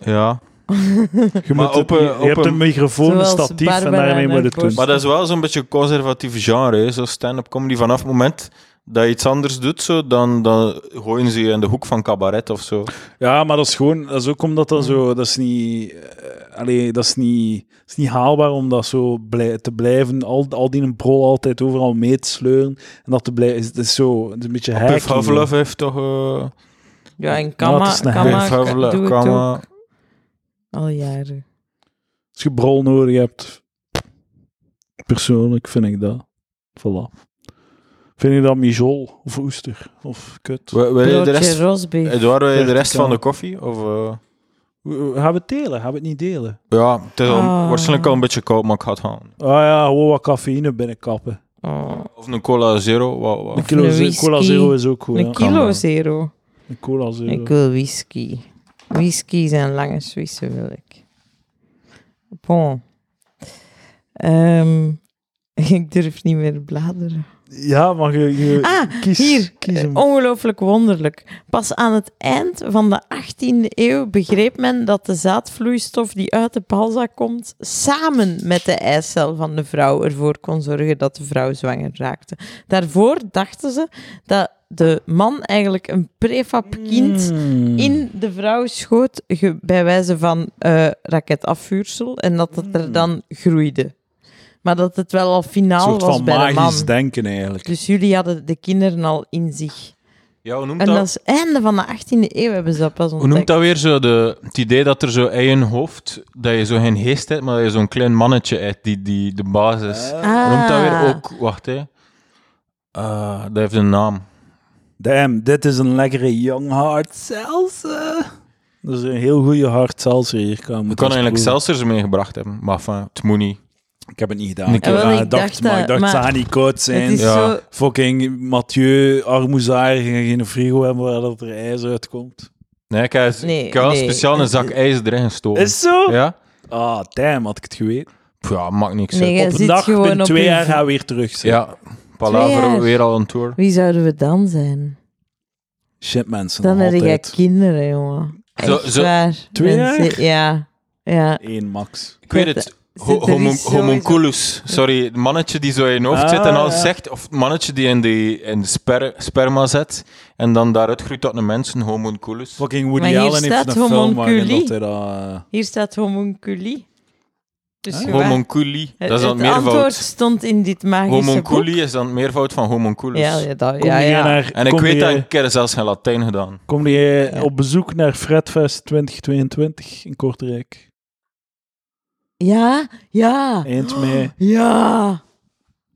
B: Ja.
A: Je,
B: Maar
A: moet het-
B: op een-
A: je- je
B: op
A: hebt
B: een-
A: een microfoon, een
C: Zoals
A: statief en
C: Barbara
A: daarmee
C: en
A: moet je het
C: haar
A: doen.
B: Maar dat is wel zo'n beetje een conservatief genre, hè? zo stand-up comedy. Vanaf het moment dat je iets anders doet, zo, dan, dan gooien ze je in de hoek van cabaret of zo.
A: Ja, maar dat is gewoon, dat is ook omdat dat zo, dat is niet, eh, allee, dat is niet, dat is niet haalbaar om dat zo blij, te blijven, al, al die een brol altijd overal mee te sleuren. En dat te blijven, het is zo, het is een beetje
B: Pif
A: hacking.
B: Havlov heeft toch... eh,
C: Ja, en
A: dat
C: Kama,
A: is een
C: Kama
B: Pif Havlov,
C: doe het
B: Kama.
C: ook al jaren.
A: Als je brol nodig hebt, persoonlijk vind ik dat, voilà. Vind je dat mijol of oester of kut?
B: Wil- wil je de
C: Broodje
B: rest,
C: rosbeef.
B: Eduardo, wil je de rest
A: Verticaal.
B: van de koffie? Of, eh?
A: We- we Gaan we het delen? Gaan we het niet delen?
B: Ja, het is al-
C: Ah.
B: waarschijnlijk al een beetje koud, maar ik ga het halen.
A: Ah ja, gewoon wat cafeïne binnenkappen.
C: Oh,
B: Of een cola zero. Wat,
A: Een
B: wat.
A: kilo
C: een
A: ze- cola
C: whisky.
A: zero is ook goed.
C: een
A: Ja.
C: kilo
B: maar.
C: zero.
A: Een cola zero.
C: Ik wil whisky. Whisky zijn lange Suisse wil ik. Bon. Ehm, ik durf niet meer bladeren.
A: Ja, maar je, je
C: Ah,
A: kies,
C: hier.
A: kies hem.
C: Ongelooflijk wonderlijk. Pas aan het eind van de 18e eeuw begreep men dat de zaadvloeistof die uit de balza komt, samen met de eicel van de vrouw ervoor kon zorgen dat de vrouw zwanger raakte. Daarvoor dachten ze dat de man eigenlijk een prefab kind
A: Hmm. Mm.
C: in de vrouw schoot, ge- bij wijze van eh, raketafvuursel, en dat het er dan groeide. Maar dat het wel al
A: Mm. Een
C: finaal
A: soort
C: was
A: van
C: bij de man.
A: magisch denken eigenlijk.
C: Dus jullie hadden de kinderen al in zich.
B: Ja, hoe noemt
C: En
B: dat?
C: dat is einde van de 18e eeuw hebben ze dat pas
B: Hoe noemt
C: ontdekt.
B: dat weer zo? De, het idee dat er zo eigen hoofd, dat je zo geen geest hebt, maar dat je zo'n klein mannetje hebt, die, die de basis.
A: Eh,
C: Ah.
B: Hoe noemt dat weer ook? Wacht, hè. Eh, dat heeft een naam.
A: Damn, dit is een lekkere young hard seltzer. Dat is een heel goede hard seltzer hier. Ik kan,
B: Ik kan eigenlijk Celsers meegebracht hebben, maar van, het moet niet.
A: Ik heb het niet gedaan. Ik, eh,
C: keer. Wel,
A: dacht,
C: ik dacht
A: maar ik
C: dat,
A: dacht, ze
C: maar-
A: gaan niet koud zijn.
C: Het is
B: Ja.
C: zo...
A: Fucking Mathieu, armoezaar, ging geen frigo hebben waar dat er ijs uitkomt.
B: Nee, ik heb,
C: Nee,
B: ik heb wel
C: nee. Eh,
B: speciaal een zak ijs erin gestoken.
A: Is zo?
B: Ja?
A: Ah, damn, had ik het geweten.
B: Pff, Ja, maakt niks
C: Nee,
B: uit.
C: jij
A: op een
C: zit
A: dag,
C: gewoon
A: binnen
C: op
A: twee
C: je
A: jaar
C: v-
A: gaan we weer terug zijn.
B: Ja,
C: Twee
B: Palaver,
C: jaar.
B: weer al een tour.
C: Wie zouden we dan zijn?
A: Shit, mensen.
C: Dan heb jij
A: altijd.
C: kinderen, jongen.
B: Zo-
C: Echt
B: zo-
C: waar.
A: Twee
C: Mensen- Ja. Ja.
A: Eén max.
B: Ik weet
C: Zit-
B: het.
C: zit
B: Ho-
C: er
B: homo-
C: iets sowieso-
B: homunculus. Sorry, het mannetje die zo in je hoofd
A: Ah,
B: zit en alles
A: ja.
B: zegt. Of het mannetje die in, die, in de sper- sperma zit. En dan daaruit groeit tot een mens, een homunculus.
A: Fucking
C: Maar
A: Woody
C: hier
A: Allen heeft
C: staat
A: een film waarin
C: homunculi.
A: dat hij dat... eh,
C: Hier staat homunculi. Dus je waar-
B: Homunculi,
C: het,
B: Ah. dat is dan
C: het
B: het
C: antwoord
B: meervoud.
C: stond in dit magische boek.
B: Homunculi is dan het meervoud van homunculus.
C: Ja, ja, dat,
A: Kom
C: ja,
A: jij
C: ja.
A: naar-
B: En ik
A: kom
B: weet dat
A: jij-
B: een keer zelfs geen Latijn gedaan.
A: Kom jij
C: Ja.
A: op bezoek naar Fredfest 2022 in Kortrijk?
C: Ja, ja.
A: Eind mei.
C: Ja.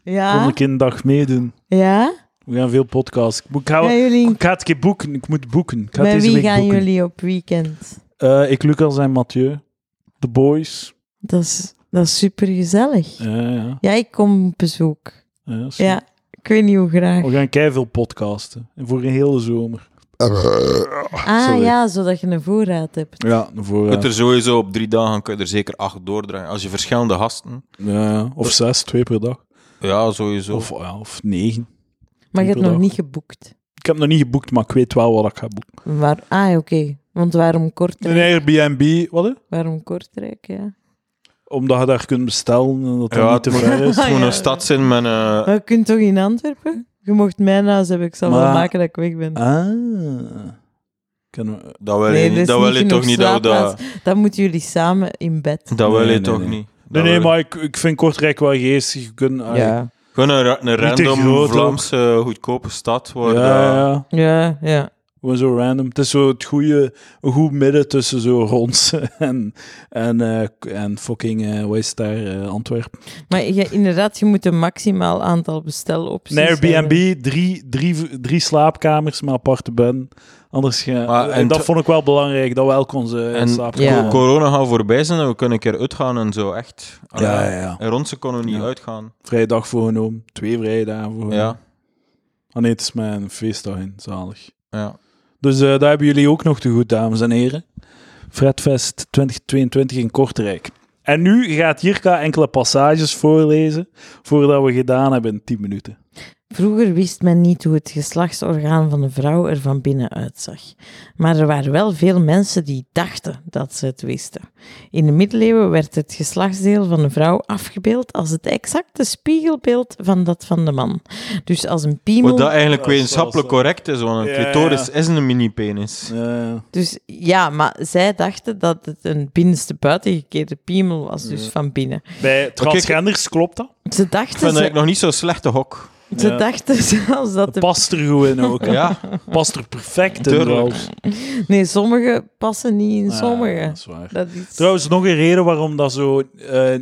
A: Kom
C: Ja.
A: ik een dag meedoen.
C: Ja.
A: We gaan veel podcasts. Ik, moet- ik, ga,
C: Gaan
A: ik
C: jullie...
A: ga het een keer boeken. Ik moet boeken. Ik ga het
C: Met
A: deze
C: wie
A: week
C: gaan
A: boeken.
C: jullie op weekend?
A: Eh, ik, Lucas en Mathieu. De boys.
C: Dat is, dat is super gezellig.
A: Ja, ja.
C: Ja, ik kom op bezoek.
A: ja, zie.
C: Ja, ik weet niet hoe graag.
A: We gaan keihard veel podcasten. En voor een hele zomer.
C: ah
A: Oh, sorry.
C: ja, zodat je een voorraad hebt.
A: Ja, voor, eh,
B: Je kunt er sowieso op drie dagen kun je er zeker acht doordraaien. Als je verschillende gasten...
A: of zes, twee per dag.
B: Ja, sowieso.
A: Of, ja, of negen.
C: Maar je hebt nog
A: Dag.
C: niet geboekt.
A: Ik heb nog niet geboekt, maar ik weet wel wat ik ga boeken.
C: Waar, ah, oké. Want waarom Kortrijk?
A: Een Airbnb, wat hè?
C: Waarom Kortrijk, ja.
A: Omdat je daar kunt bestellen en dat dat
B: Ja,
A: niet te
B: het
A: ver is.
B: Het moet
C: Ja.
B: een stad zijn met eh, een...
C: Maar je kunt toch in Antwerpen? Je mocht mijn huis hebben, ik zal
A: Maar-
C: wel maken dat ik weg ben.
A: Ah. Kunnen we-
B: Dat wil
C: Nee,
B: je
C: er
B: niet-
C: is
B: dat
C: niet
B: wil je
C: genoeg
B: toch niet. Dat, dat,
C: slaapplaats. Dan moeten jullie samen in bed.
B: dat wil
A: Nee,
B: je
A: nee,
B: toch
A: nee.
B: niet.
E: Nee,
B: Dat
E: nee,
B: wil-
E: maar ik, ik vind Kortrijk wel geestig. Je kunt, ah,
C: Ja,
B: Gewoon een, ra- een
E: Niet te
B: random
E: groot ook.
B: Vlaamse goedkope stad. Waar
A: ja,
B: dat-
A: ja.
C: ja, ja.
A: Gewoon zo random. Het is zo het goede, een goed midden tussen zo Rons en, en, eh, k- en fucking, eh wat is het daar, eh, Antwerpen.
C: Maar je, inderdaad, je moet een maximaal aantal bestelopties
A: Een Airbnb, drie, drie, drie slaapkamers, maar aparte ben. Anders, ga-
B: Maar,
A: eh,
B: en
A: dat
B: t-
A: vond ik wel belangrijk, dat we elk onze eh,
B: En-
A: slaapkamer
C: Ja.
B: Co- Corona gaat voorbij zijn en we kunnen een keer uitgaan en zo, echt.
A: Ja, ja, ja.
B: En rond ze konden we niet
A: Ja.
B: uitgaan.
A: Vrije dag voorgenomen. Twee vrije dagen voorgenomen.
B: Ja,
A: Ah nee, het is mijn feestdag in. Zalig.
B: ja.
A: Dus eh, daar hebben jullie ook nog te goed, dames en heren. Fredfest 2022 in Kortrijk. En nu gaat Jirka enkele passages voorlezen voordat we gedaan hebben in 10 minuten.
C: Vroeger wist men niet hoe het geslachtsorgaan van de vrouw er van binnen uitzag. Maar er waren wel veel mensen die dachten dat ze het wisten. In de middeleeuwen werd het geslachtsdeel van de vrouw afgebeeld als het exacte spiegelbeeld van dat van de man. Dus als een piemel.
B: Wat dat eigenlijk
A: Ja,
B: wetenschappelijk
A: zoals,
B: correct is, want een
A: Ja, ja.
B: clitoris is een mini-penis.
A: Eh,
C: Dus ja, maar zij dachten dat het een binnenste buitengekeerde piemel was, dus van binnen.
E: Bij transgenders klopt dat.
C: Ze
B: Ik
C: dachten,
B: vind
C: ze,
B: dat nog niet zo'n slechte hok.
C: ze
A: ja.
C: dachten zelfs dat de
A: Past er goed in ook. hè.
B: Ja,
A: Past er perfect in.
B: Tuurlijk.
A: zelfs.
C: Nee, sommige passen niet in
A: Ah,
C: sommige.
A: Dat is waar.
C: Dat is...
A: Trouwens, nog een reden waarom dat zo, eh,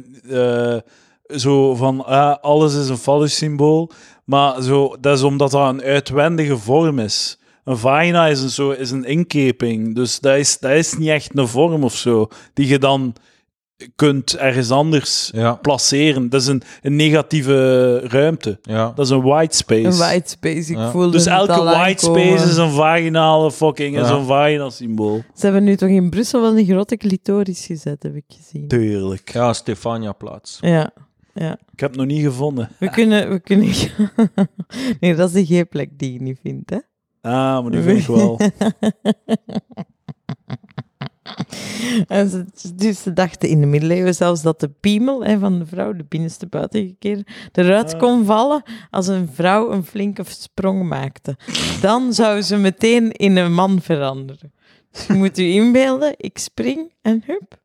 A: eh, zo van ah, alles is een fallus symbool. Maar zo, dat is omdat dat een uitwendige vorm is. Een vagina is een, zo, is een inkeping. Dus dat is, dat is niet echt een vorm of zo. Die je dan kunt ergens anders
B: ja,
A: placeren. Dat is een, een negatieve ruimte.
B: ja.
A: Dat is een white space.
C: Een white space, ik
B: Ja.
C: voelde
A: dus
C: het
A: elke
C: al
A: white
C: aankomen.
A: space is een vaginale fucking, is
B: Ja.
A: een vagina symbool.
C: Ze hebben nu toch in Brussel wel een grote clitoris gezet, heb ik gezien.
A: Tuurlijk.
B: Ja, Stefania-plaats.
C: Ja,
A: Ik heb het nog niet gevonden.
C: we kunnen... We kunnen... nee, dat is de G-plek die je niet vindt, hè.
A: Ah, maar die vind ik wel.
C: En ze, dus ze dachten in de middeleeuwen zelfs dat de piemel hè, van de vrouw, de binnenste buitengekeerde, eruit kon vallen als een vrouw een flinke sprong maakte. Dan zou ze meteen in een man veranderen. Dus je moet u inbeelden, ik spring en hup,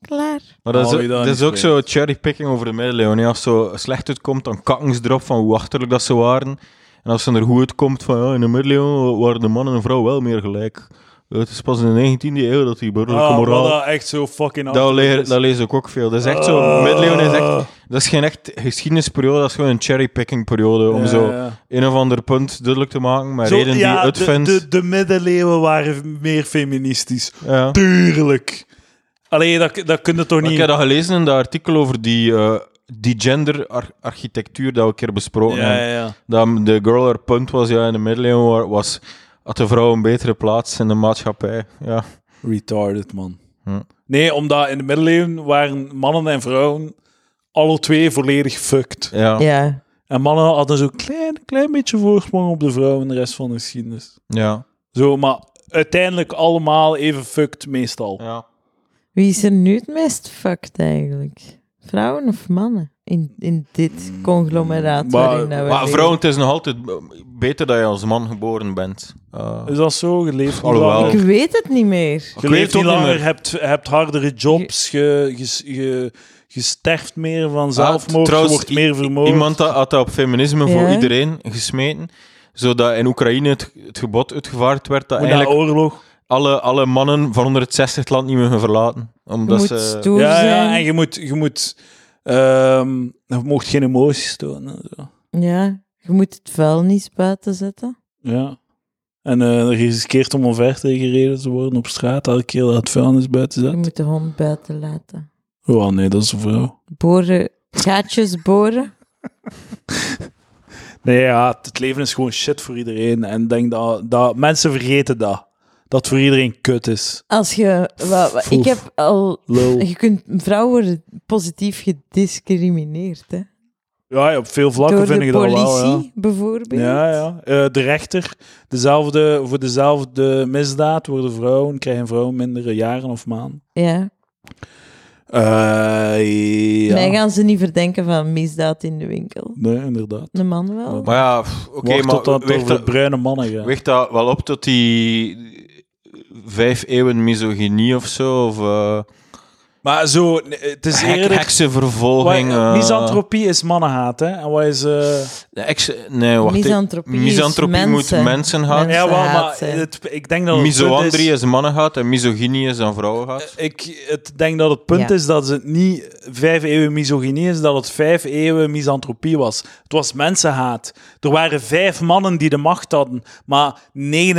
C: klaar.
B: Maar dat is,
A: Hou je daar
B: dat
A: niet
B: is ook
A: voor.
B: zo cherrypicking over de middeleeuwen. hè. Als zo slecht uitkomt, dan kakken ze erop van hoe achterlijk dat ze waren. En als ze er goed uitkomt van ja, in de middeleeuwen waren de man en de vrouw wel meer gelijk. Het is pas in de 19e eeuw dat die burgerlijke
A: Ah,
B: moraal...
A: wat dat echt zo fucking
B: Dat,
A: achterlijk
B: leer,
A: is.
B: dat lees ik ook veel. Dat is echt zo.
A: Ah.
B: Middeleeuwen is echt. Dat is geen echt geschiedenisperiode, dat is gewoon een cherrypicking periode. Om
A: Ja,
B: zo
A: ja.
B: een of ander punt duidelijk te maken met
A: Zo,
B: reden die je
A: ja, de,
B: uitvindt.
A: de, de middeleeuwen waren meer feministisch.
B: Ja.
A: Tuurlijk. Allee, dat, dat kun je toch
B: Maar
A: niet...
B: Ik heb dat gelezen in dat artikel over die, eh, die gender-architectuur dat we een keer besproken
A: ja, ja,
B: hebben.
A: ja.
B: Dat de girl haar punt was ja, in de middeleeuwen wa- was, had de vrouw een betere plaats in de maatschappij. Ja.
A: Retarded, man.
B: Hm.
A: Nee, omdat in de middeleeuwen waren mannen en vrouwen alle twee volledig fucked.
B: Ja. Ja.
C: Ja,
A: En mannen hadden zo'n klein, klein beetje voorsprong op de vrouwen de rest van de geschiedenis.
B: ja.
A: Zo, maar uiteindelijk allemaal even fucked meestal.
C: wie is er nu het meest fucked eigenlijk? Vrouwen of mannen? In, in dit conglomeraat
A: Mm. Maar-
C: waarin dat we
B: Maar
C: leven.
B: vrouwen, het is nog altijd beter dat je als man geboren bent. Eh,
A: Is dat zo? Geleefd
B: Alhoewel.
C: Ik weet het niet meer.
A: Je
B: Ik weet
A: leeft niet
B: het ook niet
A: langer,
B: meer.
A: hebt, hebt hardere jobs, je, je, je, je sterft meer van zelfmoord, je
B: Ah, trouwens,
A: wordt meer vermoord.
B: Iemand dat, had dat op feminisme voor
C: Ja.
B: iedereen gesmeten, zodat in Oekraïne het, het gebod uitgevaard werd dat
A: Moet
B: eigenlijk
A: naar oorlog.
B: alle, alle mannen van 160 het land niet mogen verlaten.
C: Je
B: Omdat
C: moet
B: ze...
C: stoer
A: Ja,
C: zijn.
A: ja, en je moet... Je, moet ehm, je mocht geen emoties tonen. en Zo.
C: Ja, je moet het vuilnis buiten zetten.
A: Ja. En eh riskeert om omver gereden te worden op straat, elke keer dat het vuilnis buiten
C: Je
A: zet.
C: moet de hond buiten laten.
A: Oh nee, dat is een vrouw.
C: Boren, gaatjes boren.
A: Nee, ja, het leven is gewoon shit voor iedereen. En ik denk dat, dat mensen vergeten dat. Dat het voor iedereen kut is.
C: Als je... wa- wa- ik
A: Oef.
C: heb al...
A: Lul.
C: Je kunt vrouwen worden positief gediscrimineerd, hè.
A: Ja, ja, op veel vlakken
C: Door
A: vind
C: de
A: ik
C: politie,
A: dat wel. Ja.
C: bijvoorbeeld.
A: Ja, ja. Eh, de rechter, dezelfde, voor dezelfde misdaad worden vrouwen, krijgen vrouwen mindere jaren of maanden.
C: Ja.
A: Eh, ja.
C: Mij gaan ze niet verdenken van misdaad in de winkel.
A: Nee, inderdaad.
C: De man wel.
A: Ja.
B: Maar ja, pff, oké,
A: Wacht
B: maar
A: tot dat het
B: weegt
A: over
B: dat,
A: bruine mannen gaat.
B: weegt dat wel op tot die... vijf eeuwen misogynie of zo. Of eh,
F: Maar zo, nee,
A: eh,
F: het is
B: hek-
F: eerder...
B: heksenvervolging.
F: Wat-
B: eh,
A: Misantropie is mannenhaat, hè? En wat is... eh,
B: heks- nee, wacht. ik-
C: Misantropie is
B: misantropie
C: mensen.
B: moet mensen haat.
C: Mensen.
A: ja, wel,
C: Mensenhaat,
A: maar
C: hè.
A: het, ik denk dat het punt
B: Misoandrie
A: is...
B: is mannen gaat en misogynie is aan vrouwen gaat.
A: Ik het denk dat het punt
C: Ja.
A: is dat het niet vijf eeuwen misogynie is, dat het vijf eeuwen misantropie was. Het was mensenhaat. Er waren vijf mannen die de macht hadden, maar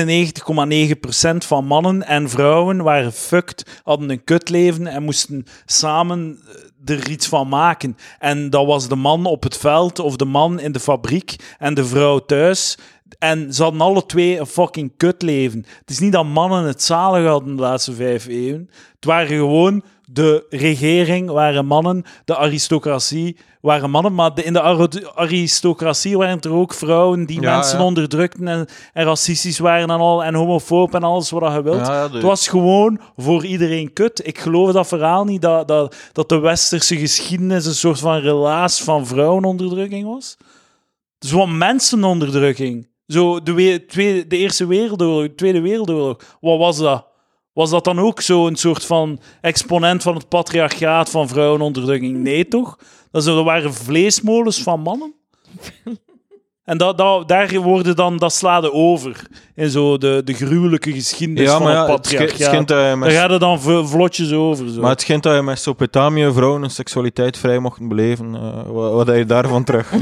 A: 99,9% van mannen en vrouwen waren fucked, hadden een kutleven en moesten samen eh, er iets van maken. En dat was de man op het veld of de man in de fabriek en de vrouw thuis. En ze hadden alle twee een fucking kutleven. Het is niet dat mannen het zalig hadden de laatste vijf eeuwen. Het waren gewoon de regering waren mannen, de aristocratie waren mannen. Maar de- in de aro- aristocratie waren er ook vrouwen die
B: Ja,
A: mensen
B: ja.
A: onderdrukten en, en racistisch waren en, al, en homofoob en alles wat je wilt.
B: Ja, ja, de-
A: Het was gewoon voor iedereen kut. Ik geloof dat verhaal niet dat, dat, dat de westerse geschiedenis een soort van relaas van vrouwenonderdrukking was. Het is gewoon mensenonderdrukking. Zo de, we- tweede, de Eerste Wereldoorlog, de Tweede Wereldoorlog. Wat was dat? Was dat dan ook zo'n soort van exponent van het patriarchaat van vrouwenonderdrukking? Nee, toch? Dat zo- dat waren vleesmolens van mannen. En dat, dat, daar worden dan, dat slaat over in zo de, de gruwelijke geschiedenis
B: Ja,
A: van
B: maar ja,
A: het
B: het sch- het
A: patriarchaat.
B: schijnt dat je
A: Daar
B: met,
A: gaat het dan v- vlotjes over. Zo.
B: maar het schijnt dat je met Mesopotamië vrouwen hun seksualiteit vrij mochten beleven. eh, wat, wat heb je daarvan terug?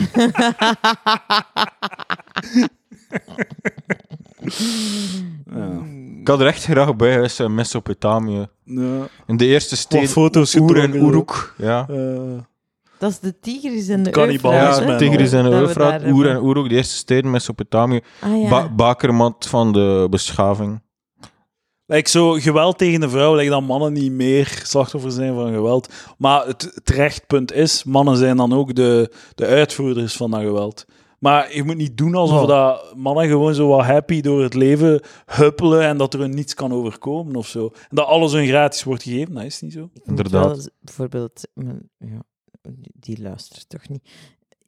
B: Ik had er echt graag bij geweest in Mesopotamië.
A: ja.
B: In de eerste
A: Wat
B: steden
A: foto's
B: Oer en
A: getrokken, zo.
B: Uruk. Ja.
A: Eh,
C: Dat is de Tigris en de
A: Cannibalisme.
C: Eufraat, hè?
B: Ja,
A: Ballismen,
B: Tigris en de
C: Dat we
B: Eufraat,
C: daar
B: Oer en
C: hebben.
B: Uruk, de eerste steden Mesopotamië.
C: Ah, ja.
B: Ba- bakermat van de beschaving.
A: Like zo, geweld tegen de vrouw, like dat mannen niet meer slachtoffer zijn van geweld. Maar het, het rechtpunt is, mannen zijn dan ook de, de uitvoerders van dat geweld. Maar je moet niet doen alsof
F: Ja.
A: dat mannen gewoon zo wat happy door het leven huppelen en dat er hun niets kan overkomen of zo. En dat alles hun gratis wordt gegeven, dat is niet zo.
C: Ik moet
B: Inderdaad.
C: wel eens- bijvoorbeeld, mijn- ja, die- die luistert toch niet.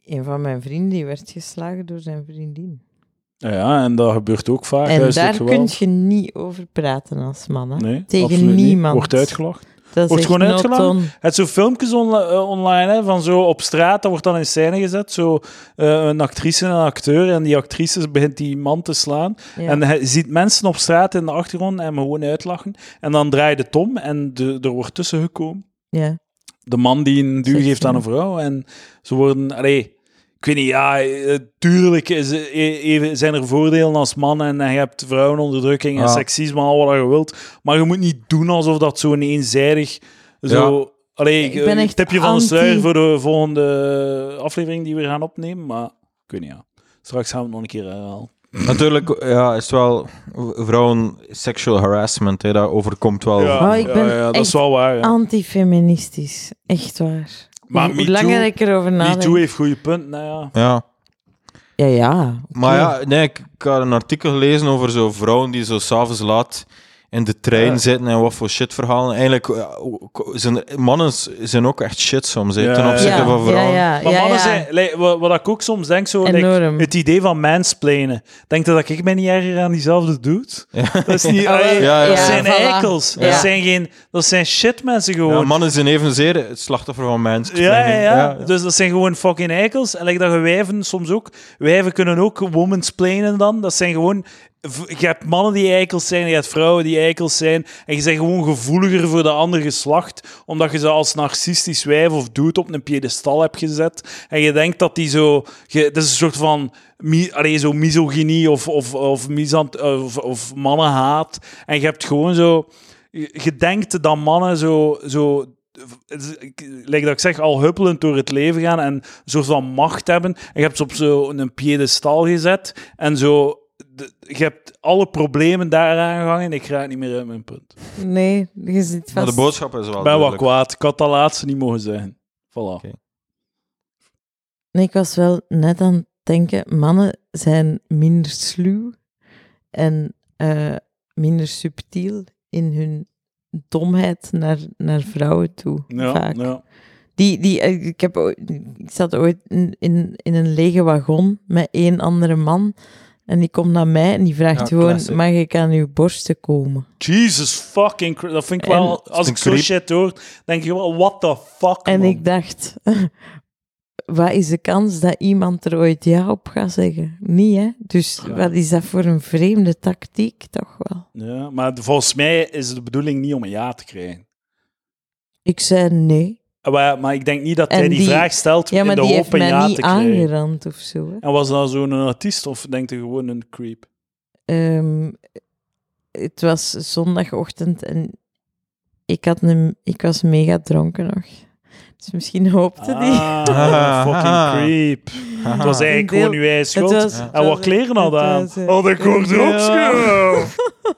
C: Een van mijn vrienden die werd geslagen door zijn vriendin.
A: Ja, en dat gebeurt Ah, ook vaak.
C: en
A: huiselijk
C: daar kun
A: geweld.
C: je niet over praten als man. Hè?
A: Nee,
C: tegen
A: absoluut niet.
C: niemand.
A: Wordt uitgelacht.
C: Dat
A: Wordt
C: is
A: gewoon
C: gewoon
A: uitgelachen? Het zo filmpjes onla- eh, online hè, van zo op straat, dat wordt dan in scène gezet. Zo eh, een actrice en een acteur. En die actrice begint die man te slaan. En hij ziet mensen op straat in de achtergrond en hem gewoon uitlachen. En dan draait het om en de, er wordt tussen gekomen.
C: ja.
A: De man die een duw
C: Zeg,
A: geeft aan een vrouw. En ze worden. Allee, ik weet niet, ja, eh, tuurlijk is, eh, e- even, zijn er voordelen als man en je hebt vrouwenonderdrukking en
B: Ja.
A: seksisme, al wat je wilt. Maar je moet niet doen alsof dat zo'n eenzijdig zo... Allee,
C: Ik ben
A: eh,
C: echt
A: tipje van de
C: anti-
A: sluier voor de volgende aflevering die we gaan opnemen, maar ik weet niet, ja. Straks gaan we het nog een keer herhalen.
B: Natuurlijk ja, is wel v- vrouwen sexual harassment, hè, dat overkomt wel.
C: Oh, ik ben
A: ja, ja, dat
C: echt
A: is wel waar. ja.
C: Antifeministisch. Echt waar.
A: Maar
C: hoe
A: Me
C: hoe langer
A: Too-
C: ik erover
A: MeToo
C: nadenk.
A: heeft goede punten, nou ja.
B: Ja.
C: Ja, ja. oké.
B: Maar ja, nee, ik, ik had een artikel gelezen over zo vrouwen die zo s'avonds laat in de trein
A: Ja.
B: zitten en wat voor shit verhalen. Eigenlijk ja, ook- zijn mannen s- zijn ook echt shit soms hè,
A: Ja,
B: ten
A: ja,
B: opzichte
C: ja,
B: van vrouwen.
C: Ja, ja,
A: Maar
C: ja,
A: mannen
C: ja.
A: zijn... like, wa- wat ik ook soms denk, zo, like,
C: Enorm.
A: het idee van mansplainen. Denk dat ik mij niet erger aan diezelfde doet? Dat is niet... allee,
B: Ja,
A: Dat
B: ja.
A: zijn
C: voilà.
A: eikels.
C: Ja.
A: Dat zijn geen... Dat zijn shitmensen
B: Ja,
A: gewoon.
B: mannen zijn evenzeer het slachtoffer van mensen.
A: Ja, ja, ja. Dus dat zijn gewoon fucking eikels. En like dat je wijven soms ook. Wijven kunnen ook womansplainen dan. Dat zijn gewoon... v- Je hebt mannen die eikels zijn, je hebt vrouwen die eikels zijn. En je bent gewoon gevoeliger voor de ander geslacht. Omdat je ze als narcistisch wijf of dude op een piedestal hebt gezet. En je denkt dat die zo... Je, dat is een soort van... Mi, allee, zo misogynie of, of, of, misant, of, of mannenhaat. En je hebt gewoon zo... Je je denkt dat mannen zo, zo het is- ik- like dat ik zeg, al huppelend door het leven gaan en een soort van macht hebben. En je hebt ze op zo'n piedestal gezet en zo. de- je hebt alle problemen daaraan gehangen. Ik raak niet meer uit mijn punt. Ik
C: Nee, je zit vast.
B: Maar de boodschap is wel
A: ben wel
B: duidelijk.
A: kwaad. Ik had dat laatste niet mogen zeggen. Voilà.
C: Nee, ik was wel net aan het denken, mannen zijn minder sluw en eh, minder subtiel in hun domheid naar, naar vrouwen toe.
A: Ja,
C: vaak.
A: ja.
C: Die, die, eh, ik, heb, ooit- ik zat ooit in, in, in een lege wagon met één andere man. En die komt naar mij en die vraagt
B: Ja,
C: gewoon,
B: classic.
C: mag ik aan uw borsten komen?
A: Jesus fucking Christ. Dat vind ik
C: En-
A: wel... Als ik
B: een
A: zo
B: creep.
A: shit hoor, denk je wel, what the fuck,
C: En
A: man.
C: ik dacht, wat is de kans dat iemand er ooit ja op gaat zeggen? Niet, hè? Dus wat is dat voor een vreemde tactiek, toch wel?
A: Ja, maar volgens mij is de bedoeling niet om een ja te krijgen.
C: Ik zei nee.
A: Maar, maar ik denk niet dat
C: En
A: hij die,
C: die-
A: vraag stelt
C: Ja, maar
A: in de
C: die
A: hoop
C: heeft
A: een
C: mij
A: ja te
C: niet
A: krijgen.
C: aangerand of zo. Hè?
A: En was dat zo'n artiest of denkt hij gewoon een creep?
C: Ehm, het was zondagochtend en ik, had een, ik was mega dronken nog. Dus misschien hoopte die.
A: Ah, fucking
B: Haha.
A: creep. Ah. Het was eigenlijk
C: Een deel-
A: gewoon uw eigen schuld.
C: Het was-
B: Ja.
A: En wat kleren had
C: het
A: aan?
C: was, eh,
A: Oh, dat hoort erop, schil.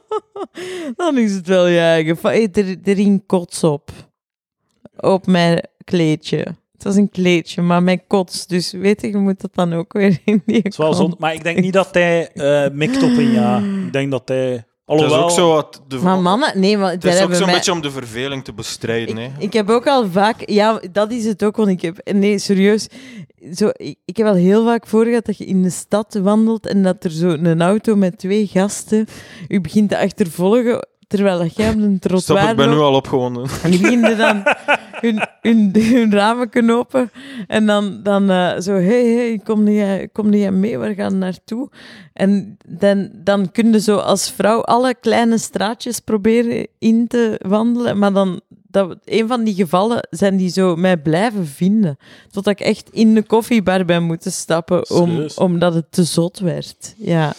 C: Dan is het wel je eigen. fa- eh, Er, er hing kots op. Op mijn kleedje. Het was een kleedje, maar mijn kots. Dus weet je, je moet dat dan ook weer in die
A: Het is wel zonde, maar ik denk niet dat hij eh mikt op een ja. Ik denk dat hij...
B: Het is
A: Alhoewel,
B: ook zo wat... De,
C: Maar mannen, nee, maar
B: het is ook
C: hebben
B: zo'n
C: mij-
B: beetje om de verveling te bestrijden, hè.
C: Ik, ik heb ook al vaak, ja, dat is het ook, want ik heb, nee, serieus, zo, ik, ik heb al heel vaak voor gehad dat je in de stad wandelt en dat er zo een auto met twee gasten u begint te achtervolgen terwijl dat jij op een
B: Stop,
C: trottoir
B: ik ben nu
C: loopt.
B: al opgewonden.
C: En die beginnen dan hun, hun, hun ramen knopen. En dan, dan eh, zo, hey, hey, kom jij kom jij mee? Waar gaan we naartoe? En dan, dan kun je zo als vrouw alle kleine straatjes proberen in te wandelen. Maar dan, dat, een van die gevallen zijn die zo mij blijven vinden. Totdat ik echt in de koffiebar ben moeten stappen, om,
A: Serieus?
C: omdat het te zot werd. Ja.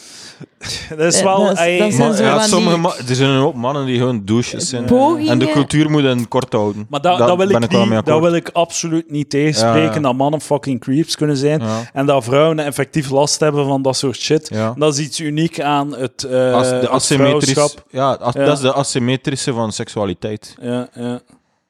A: dat is
C: eh,
A: wel...
C: dat is-
A: hij-
C: dat is-
B: Maar,
C: zo
B: ja,
C: van die-
B: sommige ma- er zijn een hoop mannen die gewoon douches zijn.
C: Pogingen...
B: Eh, En de cultuur moet hen kort houden.
A: Maar dat,
B: Daar
A: dat, wil
B: ben
A: ik
B: ik wel
A: niet-
B: mee
A: dat
B: akkoord.
A: wil ik absoluut niet tegenspreken.
B: Ja, ja.
A: Dat mannen fucking creeps kunnen zijn.
B: Ja,
A: En dat vrouwen effectief last hebben van dat soort shit.
B: ja.
A: Dat is iets uniek aan het, eh
B: Als de
A: het
B: asymmetrische,
A: vrouwenschap.
B: ja, as-
A: Ja.
B: dat is de asymmetrische van seksualiteit.
A: Ja, ja.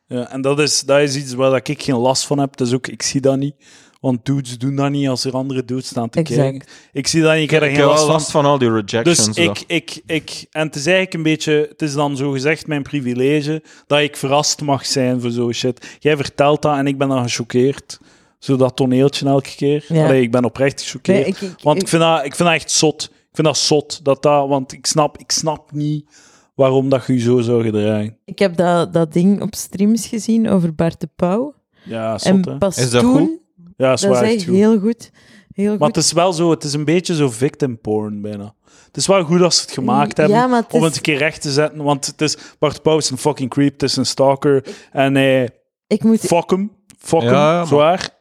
A: ja. En dat is, dat is iets waar dat ik geen last van heb. Dus ook, ik zie dat niet. Want dudes doen dat niet als er andere dudes staan te
C: Exact.
A: kijken. Ik zie dat niet, ik heb er
B: Ik
A: geen
B: heb
A: last
B: wel
A: van.
B: last van al die
A: Dus
B: rejections.
A: ik, ik, ik, en het is eigenlijk een beetje, het is dan zo gezegd mijn privilege dat ik verrast mag zijn voor zo'n shit. Jij vertelt dat en ik ben dan gechoqueerd. Zo dat toneeltje elke keer.
C: Ja.
A: Allee, ik ben oprecht gechoqueerd.
C: Nee, ik- ik-
A: want
C: ik-
A: ik vind, dat, ik vind dat echt zot. Ik vind dat zot. Dat dat, want ik snap, ik snap niet waarom dat je je zo zou gedragen.
C: Ik heb dat, dat ding op streams gezien over Bart de Pauw.
A: Ja, zot, hè?
C: En pas
B: Is dat
C: toen,
B: goed?
A: Ja,
C: dat
A: zwaar
C: is
A: echt
C: echt
A: goed.
C: heel goed. Heel
A: Maar
C: goed.
A: het is wel zo, het is een beetje zo victim porn bijna. Het is wel goed als ze het gemaakt hebben.
C: Ja, maar het
A: om
C: is-
A: het een keer recht te zetten. Want het is, Bart Pauw is een fucking creep, het is een stalker. En hij,
C: ik moet,
A: fuck hem, fuck
B: Ja,
A: hem,
B: ja, maar-
A: zwaar.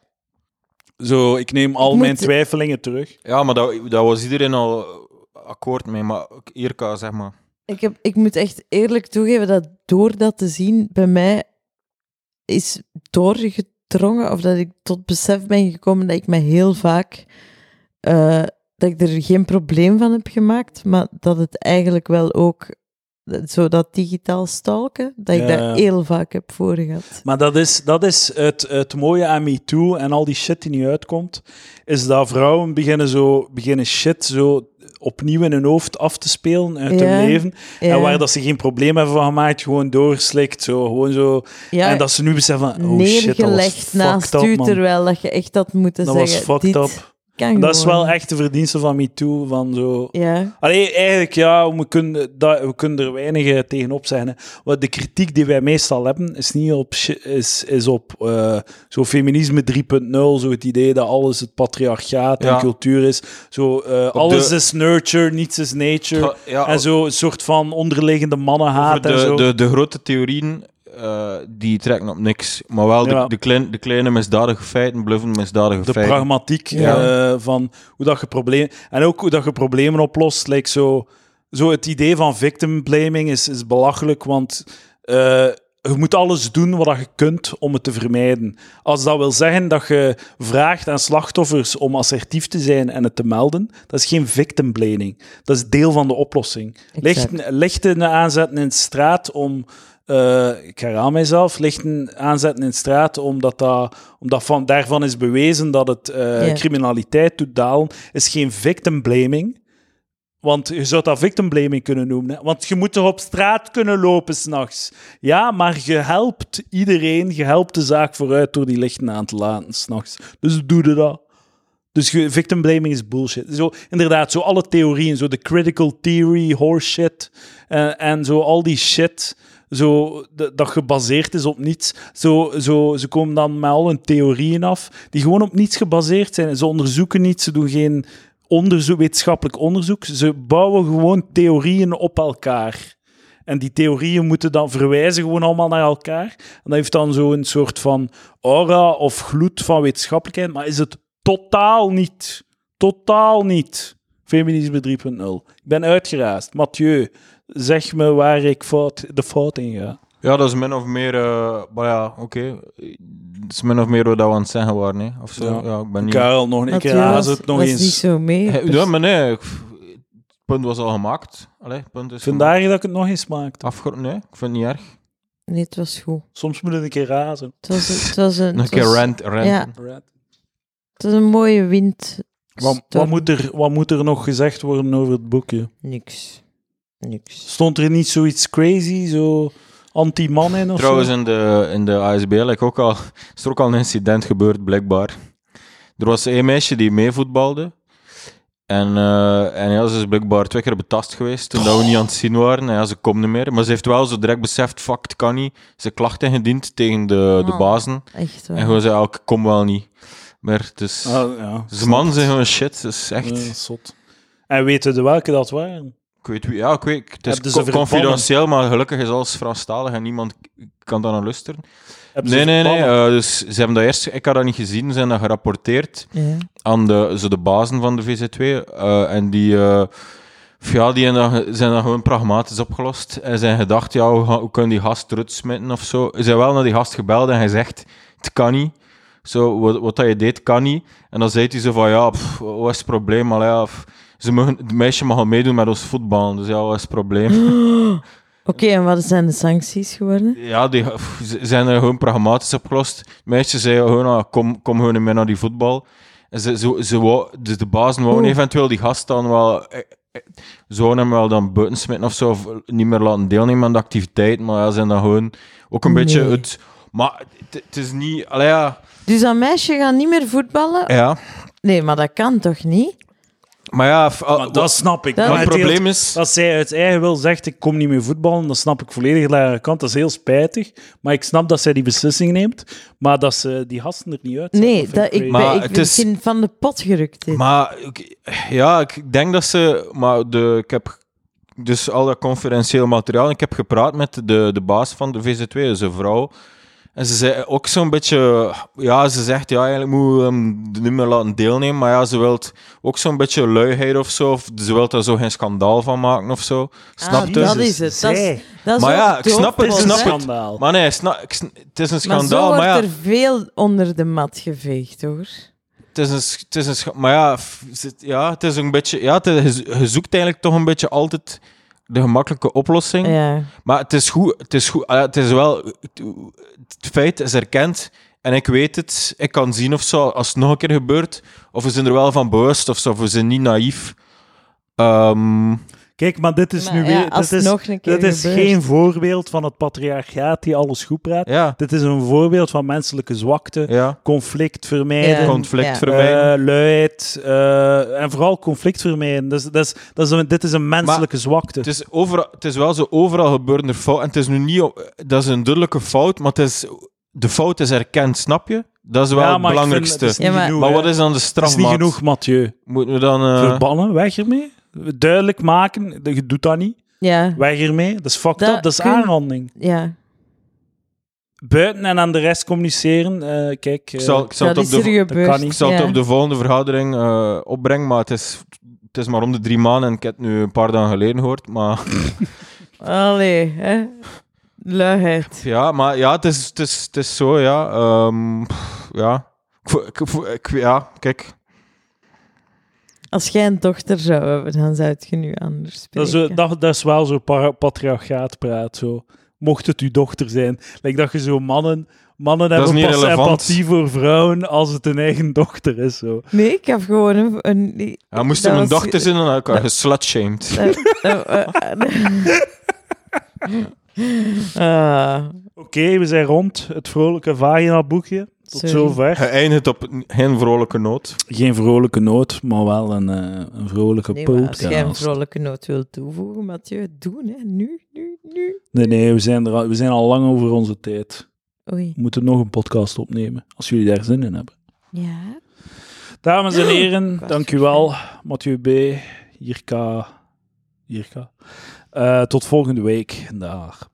A: Zo, ik neem al
C: Ik
A: mijn
C: moet-
A: twijfelingen terug.
B: Ja, maar dat, dat was iedereen al akkoord mee. Maar ook Irka, zeg maar.
C: ik, heb, ik moet echt eerlijk toegeven dat door dat te zien bij mij is doorgedrongen of dat ik tot besef ben gekomen dat ik me heel vaak eh, dat ik er geen probleem van heb gemaakt, maar dat het eigenlijk wel ook dat- zo dat digitaal stalken, dat ik
A: Ja, ja.
C: daar heel vaak heb voor gehad.
A: Maar dat is, dat is het, het mooie aan MeToo en al die shit die niet uitkomt, is dat vrouwen beginnen, zo, beginnen shit zo opnieuw in hun hoofd af te spelen uit
C: Ja,
A: hun leven.
C: Ja.
A: En waar dat ze geen probleem hebben van gemaakt, gewoon doorslikt. Zo, gewoon zo.
C: Ja,
A: en dat ze nu beseffen van, oh shit, dat was
C: neergelegd
A: fucked
C: naast
A: up,
C: u,
A: man.
C: terwijl dat je echt had moeten
A: Dat was
C: zeggen.
A: fucked
C: dit
A: up.
C: Kan
A: Dat is
C: gewoon.
A: wel echt eh, de verdienste van MeToo, van zo...
C: Ja,
A: Allee, eigenlijk, ja, we kunnen, dat, we kunnen er weinig eh, tegenop zeggen. hè. Want de kritiek die wij meestal hebben, is niet op, shi- is, is op eh, zo feminisme 3.0, zo het idee dat alles het patriarchaat en
B: Ja.
A: cultuur is. Zo, eh, alles
B: de-
A: is nurture, niets is nature.
B: Ja,
A: en zo een soort van onderliggende mannenhaat en
B: de,
A: zo.
B: de, de grote theorieën, eh, die trekken op niks. Maar wel de,
A: Ja.
B: de, klein, de kleine misdadige feiten, bluffende misdadige
A: de
B: feiten.
A: pragmatiek
B: Ja.
A: eh, van hoe dat je problemen en ook hoe dat je problemen oplost. Like zo, zo het idee van victim blaming is, is belachelijk, want eh, je moet alles doen wat dat je kunt om het te vermijden. Als dat wil zeggen dat je vraagt aan slachtoffers om assertief te zijn en het te melden, dat is geen victim blaming. Dat is deel van de oplossing.
C: Exact.
A: Lichten, lichten aanzetten in de straat om. eh, ik herhaal mijzelf. Lichten aanzetten in de straat omdat, dat, omdat van, daarvan is bewezen dat het eh,
C: Ja.
A: criminaliteit doet dalen. Is geen victim blaming. Want je zou dat victim blaming kunnen noemen. Hè? Want je moet toch op straat kunnen lopen s'nachts. Ja, maar je helpt iedereen. Je helpt de zaak vooruit door die lichten aan te laten s'nachts. Dus doe je dat. Dus je- victim blaming is bullshit. Zo, inderdaad, zo alle theorieën, zo de critical theory, horse shit eh, en zo al die shit. Zo, de- dat gebaseerd is op niets. Zo, zo, ze komen dan met al hun theorieën af, die gewoon op niets gebaseerd zijn. Ze onderzoeken niets, ze doen geen onderzoek, wetenschappelijk onderzoek. Ze bouwen gewoon theorieën op elkaar. En die theorieën moeten dan verwijzen gewoon allemaal naar elkaar. En dat heeft dan zo'n soort van aura of gloed van wetenschappelijkheid, maar is het totaal niet. Totaal niet. Feminisme 3.0. Ik ben uitgeraasd. Mathieu, zeg me waar ik fout, de fout in ga.
B: Ja, dat is min of meer... eh, maar ja, oké. Het is min of meer wat we aan het zeggen waren, hè. Of zo.
G: Ja.
B: Ja, ik ben niet...
A: eh,
G: Karel, nog een keer haas het nog
C: dat is niet
G: eens.
C: zo mee.
B: Hey, Eh, Ja, maar nee. ik- Het punt was al gemaakt. Allee, het punt is
A: Vandaar dat ik het nog eens maakte.
B: Afgerond, nee. Ik vind het niet erg.
C: Nee, het was goed.
A: Soms moet het een keer razen.
C: Het was, het was een,
B: Nog een
C: het
B: keer
C: was-
B: rant, rant.
C: ja. het was een mooie wind.
A: Wat, wat, moet er, wat moet er nog gezegd worden over het boekje?
C: Niks. Niks.
A: Stond er niet zoiets crazy, zo anti-man in of
B: Trouwens,
A: zo?
B: in de, in de ASBL ik ook al, is er ook al een incident gebeurd, blijkbaar. Er was één meisje die meevoetbalde. En, eh, en ja, ze is blijkbaar twee keer betast geweest toen dat we niet aan het zien waren. En ja, ze komt niet meer. Maar ze heeft wel zo direct beseft, fuck, het kan niet. Ze klacht ingediend tegen de, de
C: Oh.
B: bazen.
C: Echt
B: En
C: waar.
B: gewoon zei, "Ah, ik kom wel niet. Maar dus...
A: Ah, ja.
B: Ze man zijn gewoon shit, dat is echt...
A: Ja, zot. En weten de welke dat waren?
B: Ik weet wie, ja, ik weet, het is
A: Hebben ze
B: co-
A: verbannen?
B: confidentieel, maar gelukkig is alles Franstalig en niemand kan daar naar luisteren.
A: Hebben ze
B: Nee, nee, nee.
A: verbannen?
B: eh, dus ze hebben dat eerst, ik had dat niet gezien, ze zijn dat gerapporteerd
C: Ja.
B: aan de, zo de bazen van de VZ2. eh, en die, eh, f- ja, die hebben dat ge- zijn dat gewoon pragmatisch opgelost. En zijn gedacht, ja, hoe, ga- hoe kunnen die gast eruit smitten of zo. Ze zijn wel naar die gast gebeld en gezegd, het kan niet. Zo, wat, wat dat je deed, kan niet. En dan zei hij zo van, ja, pff, wat is het probleem? Maar ja, pff, ze mogen, het meisje mag al meedoen met ons voetbal, dus ja, wat is het probleem?
C: Oké, en wat zijn de sancties geworden?
B: Ja, die pff, ze zijn er gewoon pragmatisch opgelost. Meisjes zeiden gewoon, ah, kom, kom gewoon mee naar die voetbal. En ze, ze, ze wou, dus de bazen wouden
C: Oeh.
B: eventueel die gast dan wel... eh, eh, Ze wouden hem wel dan buiten smitten of zo, of niet meer laten deelnemen aan de activiteit. Maar ja, ze zijn dan gewoon ook een beetje
C: Nee.
B: het... Maar het- het is niet... Allee, ja.
C: Dus dat meisje gaat niet meer voetballen?
B: ja.
C: Nee, maar dat kan toch niet?
B: Maar ja... f- ah,
A: Maar dat snap ik.
C: Dat-
A: Maar
B: maar het
A: het hele-
B: probleem is...
A: Als zij uit eigen wil zegt, ik kom niet meer voetballen, dan snap ik volledig naar haar kant. Dat is heel spijtig. Maar ik snap dat zij die beslissing neemt, maar dat ze die gasten er niet uit zet,
C: Nee,
A: vind
C: dat, ik,
A: crazy.
B: Maar
C: ben, ik
B: het
C: ben
B: is-
C: geen van de pot gerukt. hè.
B: Maar ik- ja, ik denk dat ze. Maar de, ik heb dus al dat conferentieel materiaal. Ik heb gepraat met de, de baas van de VZ2, dus een vrouw. En ze zei ook zo'n beetje. Ja, ze zegt ja, eigenlijk moet hem niet meer laten deelnemen. Maar ja, ze wil ook zo'n beetje luiheid of zo. Of ze wil daar zo geen schandaal van maken of zo. Snap
C: Ah,
B: je?
C: dat is het. Dat is,
A: Zij.
C: dat is
B: Maar
C: ook
B: ja, ik
C: de
B: snap
A: Het is een
C: hoofdrol,
B: snap
C: hè.
B: het.
A: schandaal.
B: Maar nee, sna- ik sn- het is een
C: Maar zo
B: schandaal.
C: wordt
B: Maar, ja,
C: er veel onder de mat geveegd, hoor.
B: het is een, sch- het is een scha- maar ja, f- zit- ja, het is een beetje, ja, het is, je zoekt eigenlijk toch een beetje altijd de gemakkelijke oplossing.
C: Ja.
B: Maar het is goed, het is goed, ah, het is wel, het, het feit is erkend en ik weet het, ik kan zien of zo, als het nog een keer gebeurt, of we zijn er wel van bewust of zo, of we zijn niet naïef. Ehm,
A: Kijk, maar dit is
C: Maar
A: nu
C: ja,
A: weer...
C: als
A: dit is,
C: het nog een keer
A: dit is
C: gebeurt.
A: geen voorbeeld van het patriarchaat die alles goed praat.
B: ja,
A: Dit is een voorbeeld van menselijke zwakte,
B: ja,
A: conflict vermijden,
C: Ja.
B: conflict
C: Ja.
B: vermijden.
A: Eh, luid eh, en vooral conflict vermijden. Dus, dat is- dat is een- dit is een menselijke zwakte.
B: Het is, overal, het is wel zo overal gebeurende fout. En het is nu niet... op- Dat is een duidelijke fout, maar het is, de fout is erkend, snap je? Dat is wel
A: Ja,
B: het
A: maar ik vind
B: belangrijkste.
A: het is niet
C: Ja, maar-
A: genoeg,
B: maar
A: hè.
B: wat is dan de
A: Het
B: straf,
A: is niet genoeg, Mathieu.
B: Moeten we dan... eh,
A: Verbannen, weg ermee. Duidelijk maken, dat- je doet dat niet.
C: Ja.
A: Weg ermee, dat is fucked
C: Dat
A: up, dat is
C: kun-
A: aanranding.
C: ja.
A: Buiten en aan de rest communiceren, eh, kijk...
B: ik
A: eh,
B: zal, ik zal,
C: Dat
B: het, op
C: is
B: de,
C: er
B: vo-
C: gebeurd.
A: kan niet.
B: ik zal het
C: ja.
B: op de volgende vergadering eh, opbrengen, maar het is, het is maar om de drie maanden. En ik heb het nu een paar dagen geleden gehoord, maar...
C: Allee, hè. Luiheid.
B: Ja, maar ja, het is, het is, het is zo, ja. Ehm, pff, ja. Ik, vo- ik, vo- ik- ja, kijk.
C: Als jij een dochter zou hebben, dan zou het je nu anders
A: dat,
C: spelen.
A: is, zo- dat, dat is wel zo para- patriarchaat praat, zo. Mocht het uw dochter zijn. Like dat je zo mannen... Mannen
B: Dat is
A: hebben
B: niet
A: pas
B: relevant.
A: empathie voor vrouwen als het hun eigen dochter is, zo.
C: Nee, ik heb gewoon een... een
B: Ja, moest
C: dat
B: er een
C: was-
B: dochter zijn, dan had ik haar geslutshamed.
C: Eh, eh, eh, eh. Ah.
A: Oké, we zijn rond. Het vrolijke vagina-boekje.
E: Tot
C: Sorry.
E: zover.
B: Geëindigd op een- geen vrolijke noot.
A: Geen vrolijke noot, maar wel een, eh, een vrolijke
C: Nee, maar als jij een
A: podcast.
C: vrolijke noot wilt toevoegen, Mathieu, doen, hè. Nu, nu, nu.
A: Nee, nee, we zijn, er al, we zijn al lang over onze tijd.
C: Oei.
A: We moeten nog een podcast opnemen, als jullie daar zin in hebben.
C: Ja.
A: Dames en heren,
C: was
A: dank u wel. Mathieu B., Jirka. Jirka. Eh, tot volgende week. Dag.